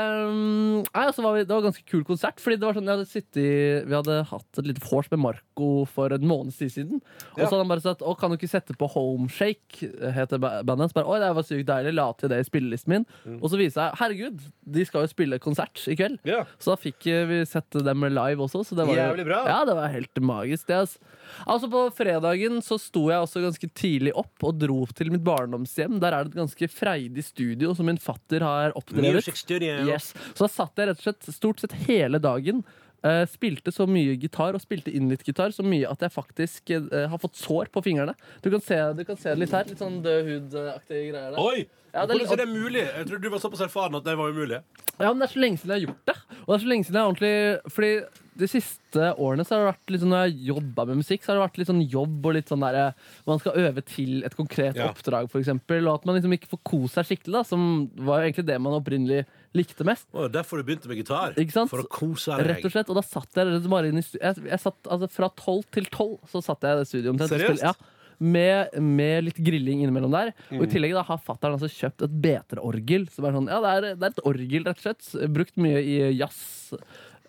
C: Ehm, nei, altså var vi, det var ganske kul konsert. Fordi det var sånn, jeg hadde sittet, i- Vi hadde hatt et lite vors med Marco for en måneds tid siden. Og så hadde han bare sagt Å, kan du ikke sette på Homeshake, heter ba- bandet. hans. Bare, Oi, det var sykt deilig, la til det i spillelisten min. Og så viser jeg Herregud, de skal jo spille konsert i kveld. Så da fikk eh, vi sett dem live også. Så det var, jo-
B: Jævlig bra.
C: Ja, det var helt magisk. Det, ass. Altså På fredagen så sto jeg også ganske tidlig opp og dro opp til mitt barndomshjem. Der er det et ganske freidig studio som min fatter har oppdrevet.
N: Music studio.
C: Yes. Så da satt jeg rett og slett stort sett hele dagen. eh, spilte så mye gitar og spilte inn litt gitar så mye at jeg faktisk eh, har fått sår på fingrene. Du kan se, du kan se det litt her. Litt sånn død hud-aktige greier der.
B: Oi!
C: Ja, det
B: Hvordan
C: er litt-
B: er det mulig? Jeg trodde du var såpass erfaren at det var umulig.
C: Ja, men det er så lenge siden jeg har gjort det. Og det er så lenge siden jeg har ordentlig Fordi de siste årene så har det vært litt sånn når jeg har jobba med musikk, så har det vært litt sånn jobb og litt sånn derre Man skal øve til et konkret
B: Ja.
C: oppdrag, for eksempel Og at man liksom ikke får kost seg skikkelig, da, som var jo egentlig det man opprinnelig likte mest.
B: Og derfor du begynte med gitar.
C: Ikke sant?
B: For å kose deg.
C: Rett og slett. Og da satt jeg rett og slett bare inn i stu- jeg, jeg satt, altså Fra tolv til tolv så satt jeg i det studioet. omtrent og
B: Seriøst?
C: spilte- Ja, med, med litt grilling innimellom der. Og i
B: Mm.
C: tillegg da har fatter'n altså kjøpt et B3-orgel. Som er sånn, ja, det er, det er et orgel, rett og slett. Brukt mye i jazz.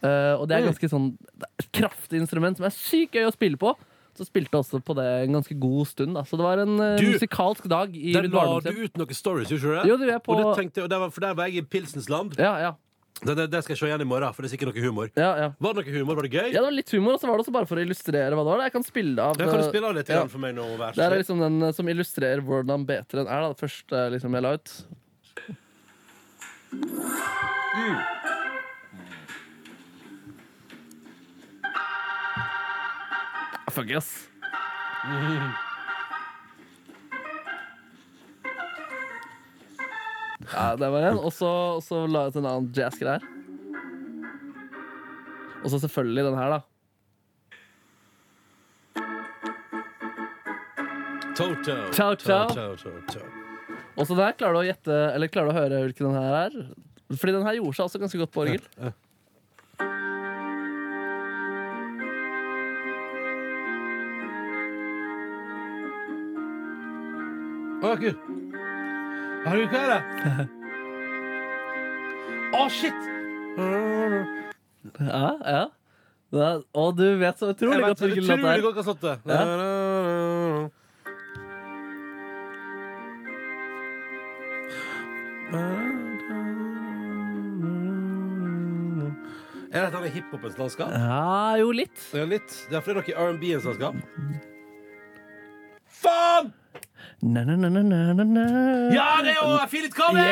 C: Eh, og det er
B: Mm.
C: ganske sånn det er et kraftig instrument som er sykt gøy å spille på. Så spilte jeg også på det en ganske god stund. Da. Så det var en eh,
B: Du,
C: musikalsk dag i
B: Der
C: mitt
B: la du
C: barndomshjem.
B: ut noen stories, gjorde du ikke det?
C: Jo, det gjorde jeg på-
B: Og det tenkte, jeg- og det var, for der var jeg i pilsens land. Det, det, det skal jeg se igjen i morgen, for det er sikkert noe humor. Var det noe humor? Var det gøy?
C: Ja, det var litt humor, og så var det også bare for å illustrere hva det var. da. Jeg kan spille av
B: Ja, kan du spille av
C: eh,
B: litt
C: ja.
B: grann for meg nå? Vær
C: Det
B: så
C: er
B: snill?
C: liksom den eh, som illustrerer hvordan B3 er. Da. Det første eh, liksom, jeg la ut. Ah, Fuck yes. Ja, det var en. Og så og så la jeg ut en annen jazzgreie her. Og så selvfølgelig den her, da.
B: Toto.
C: Ciao, ciao.
B: Ciao, ciao, ciao.
C: Og så der klarer du å gjette Eller klarer du å høre hvilken den her er Fordi den her gjorde seg altså ganske godt på orgel
B: Å, gud. Har du hva er det? Å, shit!
C: Ja, ja Det er- Og du vet så utrolig
B: Jeg vet
C: godt hvilken
B: utrolig
C: låt det er
B: godt hva slått det. Er dette noe hiphopens landskap?
C: Ja, jo, litt.
B: Ja, litt. Derfor er det noe R&B-ens landskap. Faen!
C: Na, na, na, na, na, na, na.
B: Ja, det er jo Philip Collins!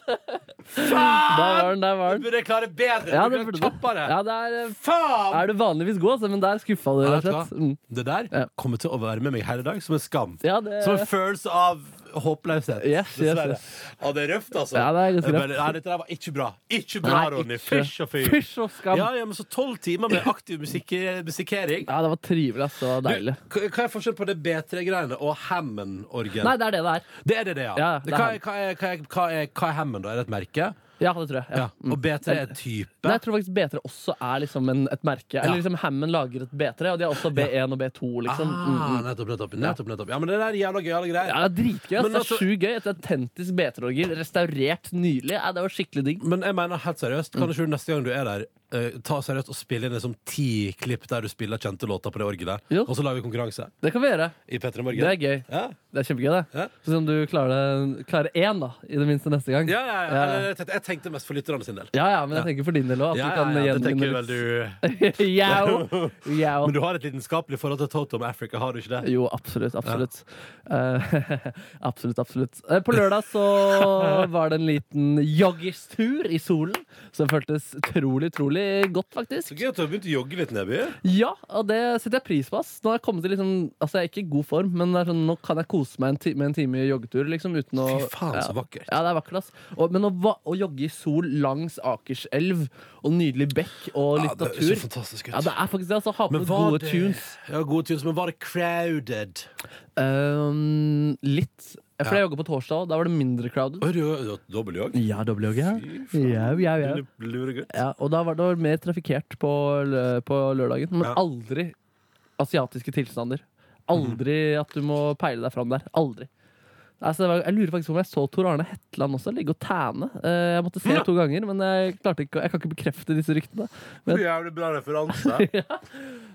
C: Faen! Der var den, der var den
B: Burde jeg klare bedre?
C: Ja,
B: Burde
C: det
B: jeg
C: burde du.
B: kjappere?
C: Ja, det er,
B: Faen!
C: er du vanligvis god, altså, men der skuffa du
B: Ja,
C: rett
B: vet du
C: og slett Mm.
B: hva? Det der kommer til å være med meg her i dag som en skam.
C: Ja, det-
B: Som en følelse av håpløshet.
C: Yes, yes,
B: Dessverre.
C: yes.
B: Ja, det er røft, altså.
C: Ja, det er ganske
B: Men,
C: røft.
B: Nei, dette der var ikke bra. Ikke bra,
C: Nei,
B: Ronny.
C: ikke.
B: Fysj og fy.
C: Fysj og skam.
B: Ja, ja, men så tolv timer med aktiv musikk musikkering.
C: Ja, det var trivelig, altså, og deilig
B: Hva hva er forskjellen på det B3-greiene og Hammond-orgel?
C: Nei, det er det det er
B: Det er det, det, ja.
C: Ja, det er
B: hva, er, hva, er, hva, er, hva, er, hva er Hammond, da? Er det et merke?
C: Ja, det tror jeg ja. Mm.
B: Ja. Og B3 er type?
C: Nei, jeg tror faktisk B3 også er liksom en, et merke Eller liksom Hammond lager et B3 Og de har også B1 og B2 liksom Mm,
B: Ah,
C: mm.
B: nettopp, nettopp, nettopp, nettopp. Ja, men det der er jævla gøyale greier.
C: Ja, det er dritgøy. ass.
B: Men
C: det
B: altså-
C: er sjukt gøy. Et autentisk B3-orgel, restaurert nylig. Ja, det var skikkelig digg.
B: Men jeg mener helt seriøst, kan ikke du neste gang du er der, eh, ta seriøst og spille inn liksom ti klipp der du spiller kjente låter på det orgelet, og så lager vi konkurranse?
C: Det kan vi gjøre.
B: I Petter i morgen.
C: Det er gøy. Det er kjempegøy, det. Så om du klarer, klarer én, da, i det minste neste gang.
B: Ja, ja, ja. Eller, Jeg, tenkte, jeg tenkte mest for lytterne sin del.
C: Ja, ja, men jeg tenker for din del òg. At
B: Ja,
C: du
B: ja,
C: kan
B: ja, det
C: gjenvinne
B: tenker vel
C: litt. Jau. Jau.
B: Men du har et lidenskapelig forhold til Toto med Africa, har du ikke det?
C: Jo, absolutt. Absolutt. Eh, absolutt, absolutt. Eh, På lørdag så var det en liten joggestur i solen, som føltes utrolig, utrolig utrolig godt, faktisk.
B: Så gøy at du har begynt å jogge litt, Neby.
C: Ja, og det setter jeg pris på. ass. Nå har jeg kommet til liksom, altså jeg er ikke i god form, men det er sånn, nå kan jeg kose meg en ti med en time joggetur. Liksom, uten å,
B: Fy faen, så vakkert.
C: Ja, ja, det er vakkert, ass. Og, men å, va å jogge i sol langs Akerselv og nydelig bekk og litt
B: det høres
C: natur
B: jo fantastisk ut.
C: Ja, det er faktisk det. Altså, ha på
B: Men
C: noen
B: var
C: gode
B: det-
C: tunes.
B: Ja, gode tunes, Men var det crowded?
C: Ehm, litt. Jeg, for
B: Ja.
C: jeg jogger på torsdag, og da var det mindre crowded.
B: Dobbeljogg?
C: Ja, dobbeltjogg. Ja. Ja, ja, ja. Ja, og da var det mer trafikkert på, lø- på lørdagen. Men
B: Ja.
C: aldri asiatiske tilstander. Aldri at du må peile deg fram der. Aldri. Altså, det var- jeg lurer faktisk på om jeg så Tor Arne Hetland også ligge og tæne. Eh, Jeg måtte se to ganger, men jeg, klarte ikke, å- jeg kan ikke bekrefte disse ryktene. Men
B: Jævlig bra referanse.
C: ja,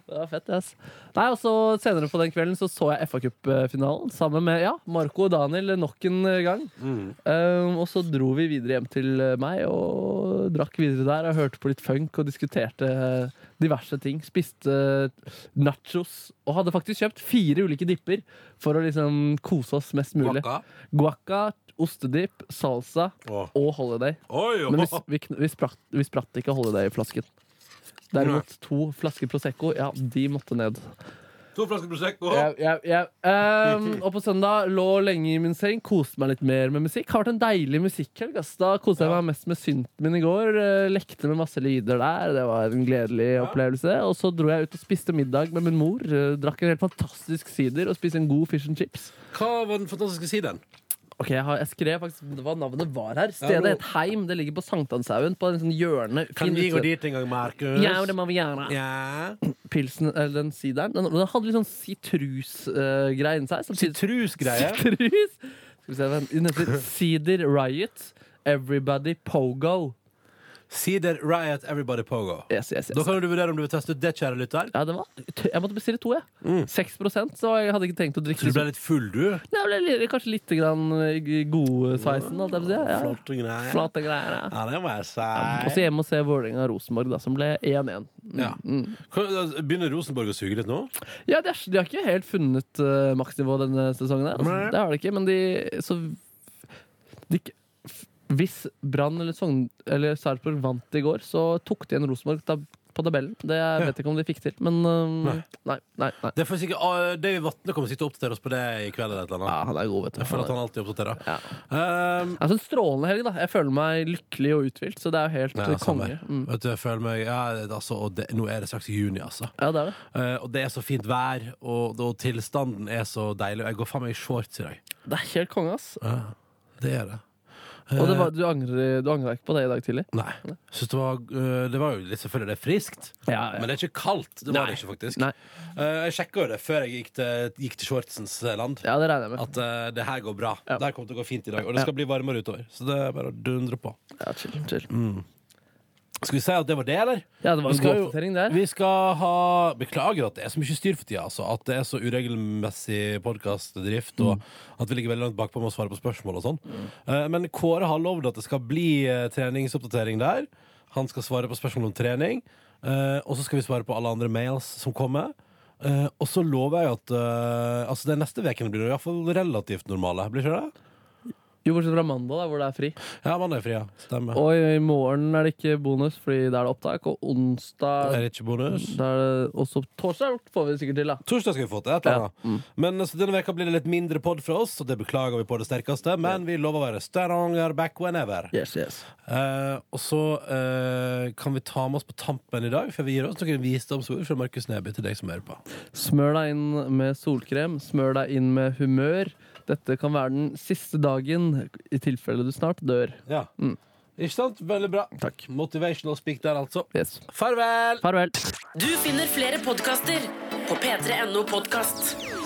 C: det var fett, ass. Nei, og så Senere på den kvelden så, så jeg FA Cup-finalen sammen med ja, Marco og Daniel nok en gang. Um, og så dro vi videre hjem til eh, meg og drakk videre der og hørte på litt funk og diskuterte eh, diverse ting. Spiste eh, nachos og hadde faktisk kjøpt fire ulike dipper for å liksom kose oss mest mulig.
B: Guacca?
C: Guacca ostedipp, salsa og holiday.
B: Oi, oi.
C: Men vi, s- vi, kn- vi, spratt, vi spratt ikke holiday-flasken. Derimot to flasker Prosecco, ja, de måtte ned.
B: To flasker Prosecco.
C: Jeg, jeg, jeg, ehm, og på søndag lå lenge i min seng, koste meg litt mer med musikk. Har vært en deilig musikkhelg. ass. Da koste jeg meg mest med synten min i går. eh, Lekte med masse lyder der. Det var en gledelig opplevelse. Og så dro jeg ut og spiste middag med min mor. eh, Drakk en helt fantastisk sider og spiste en god fish and chips.
B: Hva var den fantastiske siden?
C: Ok, jeg, har, jeg skrev faktisk hva navnet var her.
B: Ja,
C: Stedet
B: nå-
C: het Heim. Det ligger på Sankthanshaugen. På en sånn hjørne.
B: Kan
C: fin
B: vi gå
C: utsted.
B: dit en gang, Markus?
C: Ja, det må vi gjøre. Pilsen, eller den sideren, den, den hadde litt sånn sitrusgreie inni seg. samtidig-
B: Sitrusgreie?
C: Sitrus! Skal vi se, hvem- den heter Cider Riot. Everybody Pogo.
B: Cedar Riot Everybody Pogo.
C: Yes, yes, yes.
B: Da kan du vurdere om du vil teste ut det, kjære lytter.
C: Ja, det var, jeg måtte bestille to, jeg. 6 så jeg hadde ikke tenkt å drikke
B: Mm. Så du ble litt full, du?
C: Nei, jeg ble litt- kanskje litt grann i i godsveisen. holdt jeg på å si. Ja, ja.
B: Flotte greier.
C: Flotte greier, ja.
B: Ja, det må jeg si.
C: Og så hjemme og se Vålerenga-Rosenborg, da, som ble 1-1.
B: Ja. Kan- altså, Begynner Rosenborg å suge litt nå?
C: Ja, de, er, de har ikke helt funnet uh, maksnivå denne sesongen. her, Altså,
B: Nei.
C: det har de ikke, men de, så, de k- f- Hvis Brann eller, Sogn- eller Sarpsborg vant i går, så tok de igjen Rosenborg tab på tabellen. Det jeg vet ikke om de fikk til, men uh, nei. Nei, nei,
B: Det får sikkert, ah, Davy Vatne kommer sikkert til å oppdatere oss på det i kveld. Eller et eller annet.
C: Ja, han er god, vet du.
B: Jeg føler at han alltid oppdaterer. Um,
C: Altså, en strålende helg, da. Jeg føler meg lykkelig og uthvilt, så det er jo helt
B: Ja, samme
C: konge.
B: her.
C: Mm.
B: Vet du, jeg føler meg ja, altså, og det, Nå er det straks juni, altså.
C: Ja, det er det.
B: Eh, og det er så fint vær, og, og tilstanden er så deilig. Og jeg går faen meg i shorts i dag.
C: Det er helt konge, ass.
B: Ja, det er det.
C: Og det var, du angrer- du angra ikke på det i dag tidlig?
B: Nei. Synes det, var, eh, det var jo litt selvfølgelig det er friskt, men det er ikke kaldt. Det var det ikke, faktisk. Eh, jeg sjekka jo det før jeg gikk til, gikk til shortsens land.
C: Ja, det regner jeg med.
B: At eh, det her går bra. Det her kommer til å gå fint i dag. Og det
C: Ja.
B: skal bli varmere utover. Så det er bare å dundre på.
C: Ja, chill, chill.
B: Mm. Skal vi si at det var det, eller?
C: Ja, det var
B: Vi
C: en
B: skal
C: god
B: jo-
C: oppdatering der.
B: Vi skal ha Beklager at det er så mye styr for tida, altså. At det er så uregelmessig podkastdrift, og
C: Mm.
B: at vi ligger veldig langt bakpå med å svare på spørsmål og sånn. Eh, Men Kåre har lovd at det skal bli eh, treningsoppdatering der. Han skal svare på spørsmål om trening. eh, Og så skal vi svare på alle andre mails som kommer. Eh, Og så lover jeg at eh, Altså, de neste ukene blir iallfall relativt normale, blir ikke det?
C: Jo, bortsett fra mandag, da, hvor det er fri.
B: Ja, mandag er fri, ja. Stemmer.
C: Og i morgen er det ikke bonus, fordi da er det opptak. Og onsdag
B: Er det ikke bonus?
C: Da er det også torsdag får vi sikkert til, da.
B: Torsdag skal vi få til et eller annet. Men altså, denne veka blir det litt mindre pod fra oss, og det beklager vi på det sterkeste. Men vi lover å være Stavanger back whenever. Eh, og så eh, kan vi ta med oss på tampen i dag, for vi gir oss noen visdomsord fra Markus Neby til deg som hører på.
C: Smør deg inn med solkrem, smør deg inn med humør. Dette kan være den siste dagen, i tilfelle du snart dør. Mm.
B: Ja. Ikke sant? Veldig bra. Motivational speak der, altså.
C: Farvel!
A: Du finner flere podkaster på p3.no podkast.